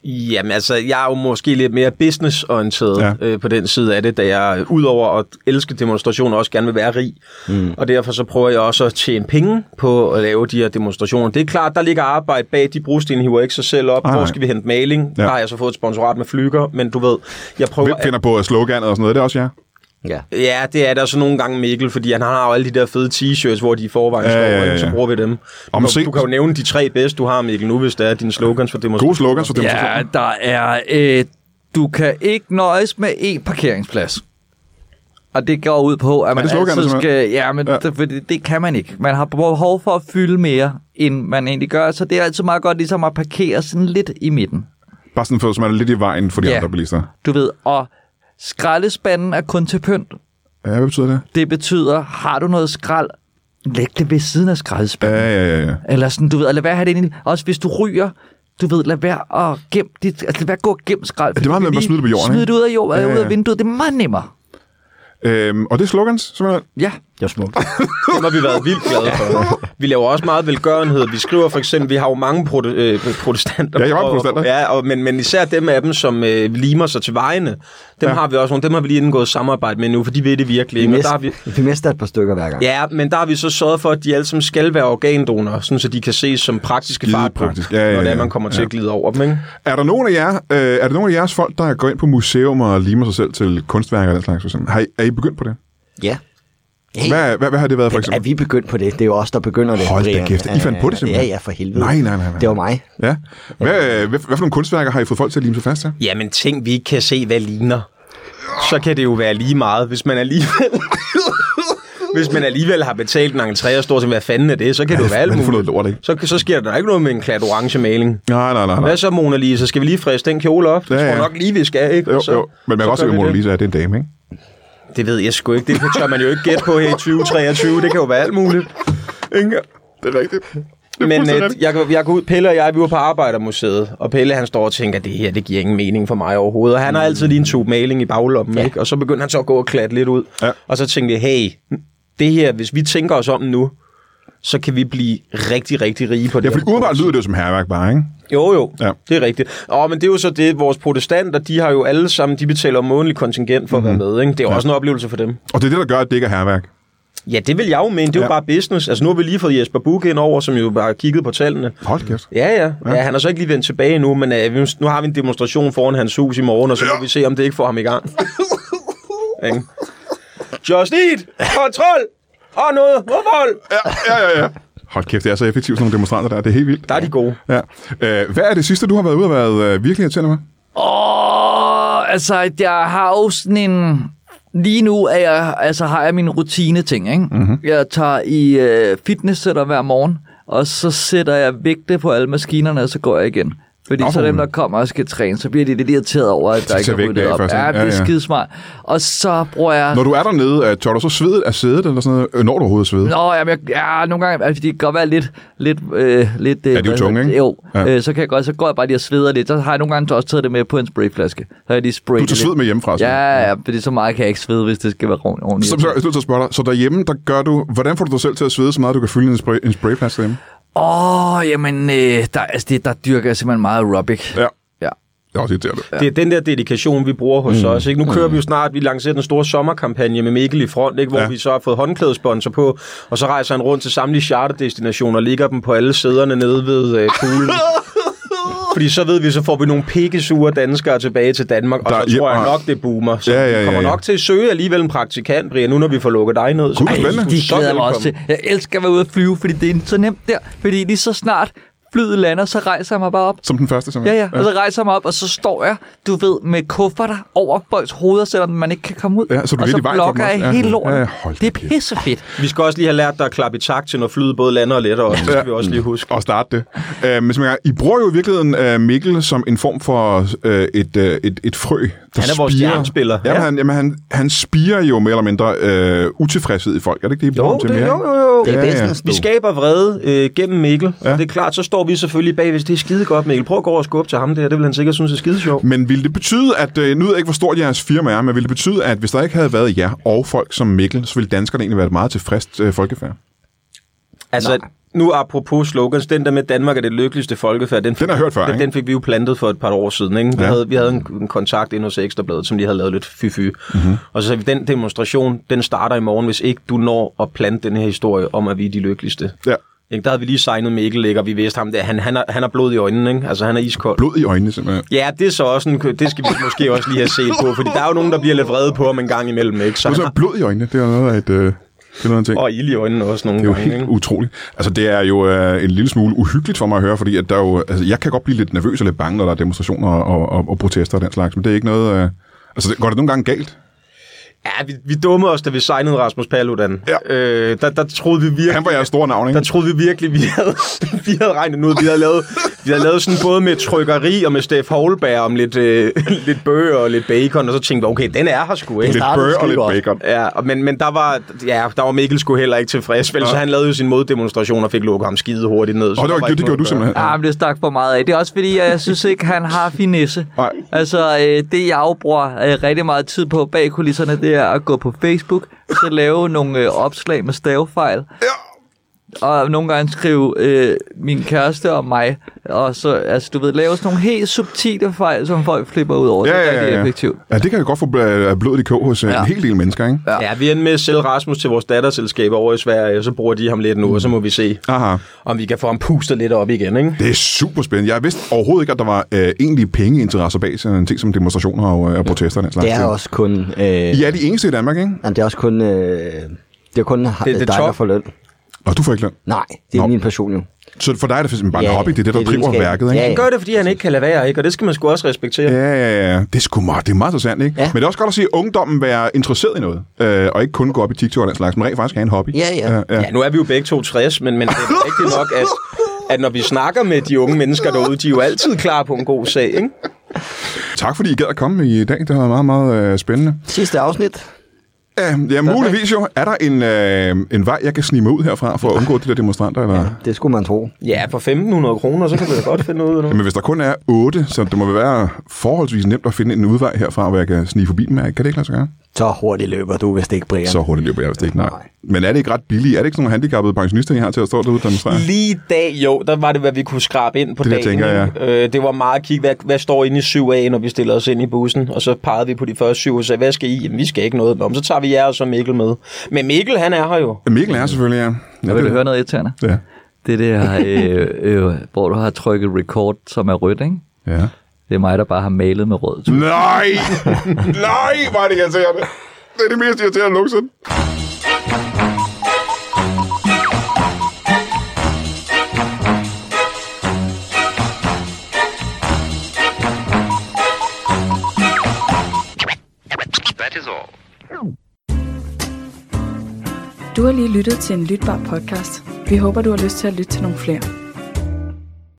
C: Jamen altså, jeg er jo måske lidt mere businessorienteret
A: Ja.
C: ja. øh, på den side af det, da jeg øh, udover at elske demonstrationer også gerne vil være rig. Mm. Og derfor så prøver jeg også at tjene penge på at lave de her demonstrationer. Det er klart, der ligger arbejde bag de brosten, hiver ikke sig selv op.
A: Nej,
C: Ej, Hvor
A: nej.
C: skal vi hente maling?
A: Ja.
C: Ja. Der har jeg så fået et sponsorat med flyger, men du ved, jeg prøver...
A: Hvem finder på sloganet og sådan noget? Det er også jer.
D: Ja.
C: Ja, det er der så nogle gange Mikkel, fordi han har jo alle de der fede t-shirts, hvor de i forvejen
A: Ja,
C: står,
A: ja,
C: ja,
A: ja, ja.
C: så bruger vi dem.
A: Og
C: Du,
A: måske-
C: du kan jo nævne de tre bedste, du har, Mikkel, nu hvis det er dine slogans for demonstrationer.
A: Gode slogans for demonstrationer.
B: Ja, der er... Øh, du kan ikke nøjes med én parkeringsplads. Og det går ud på, at man
A: det sloganet,
B: altid
A: simpelthen?
B: skal... Ja, men
A: Ja.
B: ja. Det, fordi det kan man ikke. Man har behov for at fylde mere, end man egentlig gør. Så det er altid meget godt ligesom at parkere sådan lidt i midten.
A: Bare sådan for, så man er lidt i vejen for de
B: Ja.
A: andre bilister.
B: Du ved, og skraldespanden er kun til pynt.
A: Ja, hvad betyder det?
B: Det betyder, har du noget skrald, læg det ved siden af skraldespanden.
A: Ja, ja, ja, ja.
B: Eller sådan, du ved, og lad være at have det inde i, Også hvis du ryger, du ved, lad være at gemme dit, altså lad være at gå og gemme skrald.
A: det er meget nemmere at smide det på jorden,
B: Smid
A: ikke?
B: det ud af jorden,
A: Ja,
B: ja,
A: ja.
B: ud af vinduet, det er meget nemmere.
A: Øhm, og det er slogans, simpelthen.
B: Ja.
D: Det var smukt.
C: Dem har vi været vildt glade for. Vi laver også meget velgørenhed. Vi skriver for eksempel, vi har jo mange prote- øh, protestanter.
A: Ja, I har
C: og-
A: protestanter.
C: Ja, og, men, men især dem af dem, som øh, limer sig til vejene, dem
A: Ja.
C: ja. har vi også nogle. Dem har vi lige indgået samarbejde med nu, for de ved det virkelig.
D: Vi
C: ikke? Og der
D: mister,
C: har vi,
D: vi mister et par stykker hver gang.
C: ja, men der har vi så sørget for, at de alle sammen skal være organdonorer, sådan, så de kan ses som praktiske
A: Skide
C: fartpraktisk,
A: praktisk. Ja, ja,
C: når det
A: ja.
C: er, man kommer til
A: Ja.
C: at glide over dem. Ikke?
A: Er der nogen af jer, øh, er der nogen af jeres folk, der går ind på museum og limer sig selv til kunstværker og den slags? for eksempel? Har I, er I begyndt på det?
D: Ja. Helt
A: Hvad, hvad, hvad har det været for
D: Er
A: eksempel?
D: vi begyndt på det? Det er jo os, der begynder det.
A: Hold da
D: Brian.
A: kæft, I fandt på det simpelthen?
D: Ja, ja, for helvede.
A: Nej, nej, nej, nej.
D: Det var mig.
A: Ja. Hvad, øh, hvad, hvad for nogle kunstværker har I fået folk til at lime sig fast til?
C: Jamen, ting vi ikke kan se, hvad ligner, så kan det jo være lige meget, hvis man alligevel... Hvis man alligevel har betalt en entré og står til, hvad fanden er det, så kan det jo være alt
A: Hvad er det for
C: muligt.
A: noget lort, ikke?
C: så, så sker der da ikke noget med en klat orange maling.
A: Nej, nej, nej. nej.
C: Hvad så, Mona Lisa? Skal vi lige friste den kjole op? Det
A: Ja,
C: tror
A: ja.
C: jeg nok lige, vi skal, ikke?
A: Jo,
C: Og så,
A: jo. Men man
C: så
A: kan også se, at
C: gør vi
A: Mona
C: det.
A: Lisa er, det er en dame, ikke?
C: Det ved jeg sgu ikke. Det tør man jo ikke gætte på her i 2023. Det kan jo være alt muligt. Ikke?
A: Det er rigtigt.
C: Men
A: fuldstændig
C: øh, jeg, går- jeg går ud, Pelle og jeg, vi var på Arbejdermuseet, og Pelle han står og tænker, det her, det giver ingen mening for mig overhovedet. Og han har altid lige en tube maling i baglommen, ja. ikke? Og så begyndte han så at gå og klatte lidt ud.
A: Ja.
C: Og så tænkte vi, hey, det her, hvis vi tænker os om nu, så kan vi blive rigtig, rigtig rige på det
A: Ja,
C: her
A: fordi umiddelbart lyder det jo som herværk bare, ikke?
C: Jo, jo,
A: Ja.
C: ja. det er rigtigt. Og men det er jo så det, vores protestanter, de har jo alle sammen, de betaler månedlig kontingent for at være
A: Mhm.
C: med, ikke? Det er jo også en oplevelse for dem.
A: Og det er det, der gør, at det ikke er herværk.
C: Ja, det vil jeg jo mene, det er
A: Ja.
C: jo bare business. Altså nu har vi lige fået Jesper Buch ind over, som jo bare har kigget på tallene.
A: Hold kæft.
C: Ja, ja. ja han er så ikke lige vendt tilbage endnu, men øh, vi- nu har vi en demonstration foran hans hus i morgen, og så må vi se, om det ikke får ham i gang. Ikke? Just eat! Kontrol! Og noget! Vold!
A: Ja, ja, ja, ja. Hold kæft, det er så effektivt, sådan nogle demonstranter der. Det er helt vildt.
C: Der er de gode.
A: Ja. Øh, hvad er det sidste, du har været ude og været øh, virkelig irriterende med?
B: Åh, altså, jeg har jo sådan en... Lige nu er jeg, altså, har jeg min rutine-ting, ikke?
A: Mhm.
B: Mm-hmm. Jeg tager i øh, fitnesscenter hver morgen, og så sætter jeg vægte på alle maskinerne, og så går jeg igen. Fordi
A: Nå,
B: så dem,
A: for
B: der kommer og skal træne, så bliver de lidt irriteret over, at der
A: tager
B: ikke er
A: væk
B: ryddet op.
A: derfra, sådan.
B: Ja, det
A: Ja,
B: er
A: ja.
B: skidesmart. Og så bruger jeg...
A: Når du er dernede, øh, tør du så svedet af sædet eller sådan noget? Øh, Når du overhovedet svedet?
B: Nå, jamen, jeg, ja, nogle gange, altså, det kan godt være lidt... lidt, øh, lidt øh,
A: Ja, de er jo
B: hvad
A: tunge,
B: hedder
A: ikke?
B: det? Jo,
A: Ja.
B: ja. øh, så, kan jeg godt, så går jeg bare lige og sveder lidt. Så har jeg nogle gange også taget det med på en sprayflaske. Så har jeg lige sprayet
A: Du tager
B: det
A: sved med hjemmefra? så?
B: Ja, ja, fordi så meget kan jeg ikke svede, hvis det skal være ordent- ordentligt.
A: Så så er jeg nødt til at spørge dig, så derhjemme, der gør du, hvordan får du dig selv til at svede så meget, du kan fylde en, spray, en sprayflaske derhjemme?
B: Åh, oh, jamen, øh, der, altså, det, der dyrker jeg simpelthen meget aerobic.
A: Ja.
B: ja.
A: Det er også irriterende.
C: Det er den der dedikation, vi bruger hos mm. os. Ikke? Nu kører vi jo snart, vi lancerer den store sommerkampagne med Mikkel i front, ikke? hvor
A: Ja.
C: ja. vi så har fået håndklædesponsor på, og så rejser han rundt til samtlige charterdestinationer og ligger dem på alle sæderne nede ved øh, kuglen. Fordi så ved vi, så får vi nogle pikkesure danskere tilbage til Danmark, og
A: Der-
C: så tror
A: ja,
C: jeg
A: og-
C: nok, det boomer. Så
A: Ja, ja, ja,
C: vi kommer
A: ja.
C: nok til at søge alligevel en praktikant, Brian, nu når vi får lukket dig ned. Så
A: Gud, hvor spændende.
C: du er
B: De
C: så
B: glæder jeg mig
C: velkommen.
B: også til. Jeg elsker at være ude at flyve, fordi det er så nemt der. Fordi lige så snart flyet lander, så rejser jeg mig bare op.
A: Som den første, som
B: Ja, ja. Og så rejser jeg mig op, og så står jeg, du ved, med kufferter over folks hoveder, selvom man ikke kan komme ud.
A: Ja, så du er
B: og
A: lidt
B: så
A: i vejen for dem
B: blokker jeg
A: også. Ja.
B: hele lorten.
A: Ja, hold da
B: det er
A: kæft.
B: pissefedt.
C: Vi skal også lige have lært dig at klappe i takt til, når flyet både lander og letter også. Det skal vi også lige huske.
A: Og starte det. Øh, men som jeg, I bruger jo i virkeligheden øh, Mikkel som en form for øh, et, øh, et, et frø, der
C: Han er vores
A: spirer.
C: stjernespiller.
A: Jamen,
C: Ja.
A: han, jamen han, han spirer jo mere eller mindre øh, utilfredshed i folk. Er det ikke det, I bruger ham til mere?
C: jo.
D: Det er
A: Ja, ja.
D: business,
C: Vi
D: du.
C: skaber vrede øh, gennem Mikkel,
A: Ja.
C: ja. og det er klart, så står vi selvfølgelig bag, hvis det er skide godt, Mikkel. Prøv at gå over og skubbe til ham der, det vil han sikkert synes er skide sjovt.
A: Men ville det betyde, at, øh, nu ved jeg ikke, hvor stort jeres firma er, men ville det betyde, at hvis der ikke havde været jer og folk som Mikkel, så ville danskerne egentlig være et meget tilfreds øh, folkefærd?
C: Altså, Nej. nu apropos slogans, den der med Danmark er det lykkeligste folkefærd, den,
A: Den har jeg hørt før,
C: den,
A: ikke?
C: den fik vi jo plantet for et par år siden. Ikke? Vi,
A: Ja.
C: ja. havde, vi havde en, en kontakt ind hos Ekstrabladet, som lige havde lavet lidt fy-fy.
A: Mhm.
C: Mm-hmm. Og så sagde vi, den demonstration, den starter i morgen, hvis ikke du når at plante den her historie om, at vi er de lykkeligste.
A: Ja.
C: Ikke? Der havde vi lige signet Mikkel, ikke? og vi vidste ham, der. Han, han, har, han har blod i øjnene, ikke? altså han er iskold.
A: Blod i øjnene, simpelthen.
C: Ja, det er så også en, det skal vi måske også lige have set på, fordi der er jo nogen, der bliver lidt vrede på ham en gang imellem, ikke? Så
A: Og
C: han
A: så
C: har,
A: blod i øjnene, det er noget af et... Øh, det er noget af en ting.
C: og ild i øjnene også nogle
A: Det er jo
C: gange,
A: helt
C: ikke?
A: utroligt. Altså, det er jo øh, en lille smule uhyggeligt for mig at høre, fordi at der er jo, altså, jeg kan godt blive lidt nervøs og lidt bange, når der er demonstrationer og, og, og protester og den slags, men det er ikke noget... Øh, altså, det, går det nogle gange galt?
C: Ja, vi, vi dummede os, da vi signede Rasmus Paludan.
A: Ja.
C: Øh, der, der troede vi virkelig...
A: Han var jeres store navn, ikke?
C: Der troede vi virkelig, vi havde, vi havde regnet ud. Vi havde, lavet, vi havde lavet sådan både med trykkeri og med Steff Holberg om lidt, øh, lidt bøger og lidt bacon, og så tænkte vi, okay, den er her sgu, ikke?
A: Lidt
D: startede
A: bør og
D: skide
A: lidt
D: godt.
A: bacon.
C: Ja, og- men, men der var, ja, der var Mikkel sgu heller ikke tilfreds, vel, så han lavede jo sin moddemonstration og fik lukket ham skide hurtigt ned. Så
A: Og
C: der
A: det, var,
C: ikke
A: det gjorde
C: noget
A: du
C: at gøre.
A: simpelthen.
B: Ja, Ah, men det stak for meget af. Det er også fordi, jeg synes ikke, han har finesse.
A: Nej.
B: Altså, øh, det jeg jo bruger øh, rigtig meget tid på bag kulisserne, det er at gå på Facebook, så lave nogle øh, opslag med stavefejl. Ja. Og nogle gange skrive øh, min kæreste og mig. Og så, altså, du ved, lave sådan nogle helt subtile fejl, som folk flipper ud over. det er rigtig effektivt.
A: ja, det kan jo godt få bl- blodet i kog hos øh,
B: Ja.
A: en hel del mennesker, ikke?
B: Ja.
C: Ja, vi endte med at sælge Rasmus til vores datterselskaber over i Sverige, og så bruger de ham lidt nu, og så må vi se,
A: Aha.
C: om vi kan få ham pustet lidt op igen, ikke?
A: Det er super spændende. Jeg vidste overhovedet ikke, at der var øh, egentlige pengeinteresser bag sådan en ting som demonstrationer og, øh, og protester og den slags.
D: Det er
A: ting.
D: også kun... Øh,
A: I er de eneste i Danmark, ikke?
D: jamen, det er også kun... Øh, det er kun det,
C: det er
D: dig, der
C: top.
D: får løn.
A: Og du får ikke løn.
D: Nej, det er
A: Nå.
D: Nå. min passion jo.
A: Så for dig er det faktisk bare en
D: Ja,
A: hobby, det er det, der
D: det er
A: driver
D: videnskab.
A: værket, ikke?
D: Ja,
C: Han gør det, fordi han ikke kan lade være, ikke? Og det skal man sgu også respektere.
A: Ja, ja, ja. Det er sgu meget, det er meget interessant, ikke? Ja.
D: Ja.
A: Men det er også godt at se, at ungdommen være interesseret i noget, øh, og ikke kun gå op i TikTok og den slags, men rent faktisk have en hobby.
D: Ja, ja.
A: ja. ja.
C: Ja, nu er vi jo begge to 60, men, men det er rigtigt nok, at, at når vi snakker med de unge mennesker derude, de er jo altid klar på en god sag, ikke?
A: Tak fordi I gad at komme i dag, det har været meget, meget øh, spændende.
D: Sidste afsnit.
A: Øh, ja, muligvis jo. Er der en, øh, en vej, jeg kan snige mig ud herfra for at undgå de der demonstranter? Eller? Ja.
D: Det skulle man tro.
C: Ja, for 1.500 kroner, så kan vi da godt finde ud af noget.
A: Men hvis der kun er otte, så det må være forholdsvis nemt at finde en udvej herfra, hvor jeg kan snige forbi dem. Kan det ikke lade sig gøre?
D: Så hurtigt løber du, hvis det ikke Brian.
A: Så hurtigt løber jeg, hvis det ikke. Nej. Men er det ikke ret billigt? Er det ikke sådan nogle handicappede pensionister, I har til at stå derude og demonstrere?
C: Lige i dag, jo, der var det, hvad vi kunne skrabe ind på
A: Det, jeg
C: dagen.
A: tænker,
C: ikke? øh, det var meget at kigge, hvad, hvad står inde i 7A, når vi stillede os ind i bussen. Og så pegede vi på de første syv og sagde, hvad skal I? Jamen, vi skal ikke noget. Om så tager vi jer og så Mikkel med. Men Mikkel, han er her jo.
A: Mikkel er selvfølgelig, ja.
B: Jeg vil du høre noget irriterende?
A: Ja.
B: Det der, øh, øh, hvor du har trykket record, som er rødt, ikke?
A: ja.
B: Det er mig, der bare har malet med rød.
A: Nej! Nej, hvor er det irriterende. Det er det mest irriterende nogensinde.
E: Du har lige lyttet til en lytbar podcast. Vi håber, du har lyst til at lytte til nogle flere.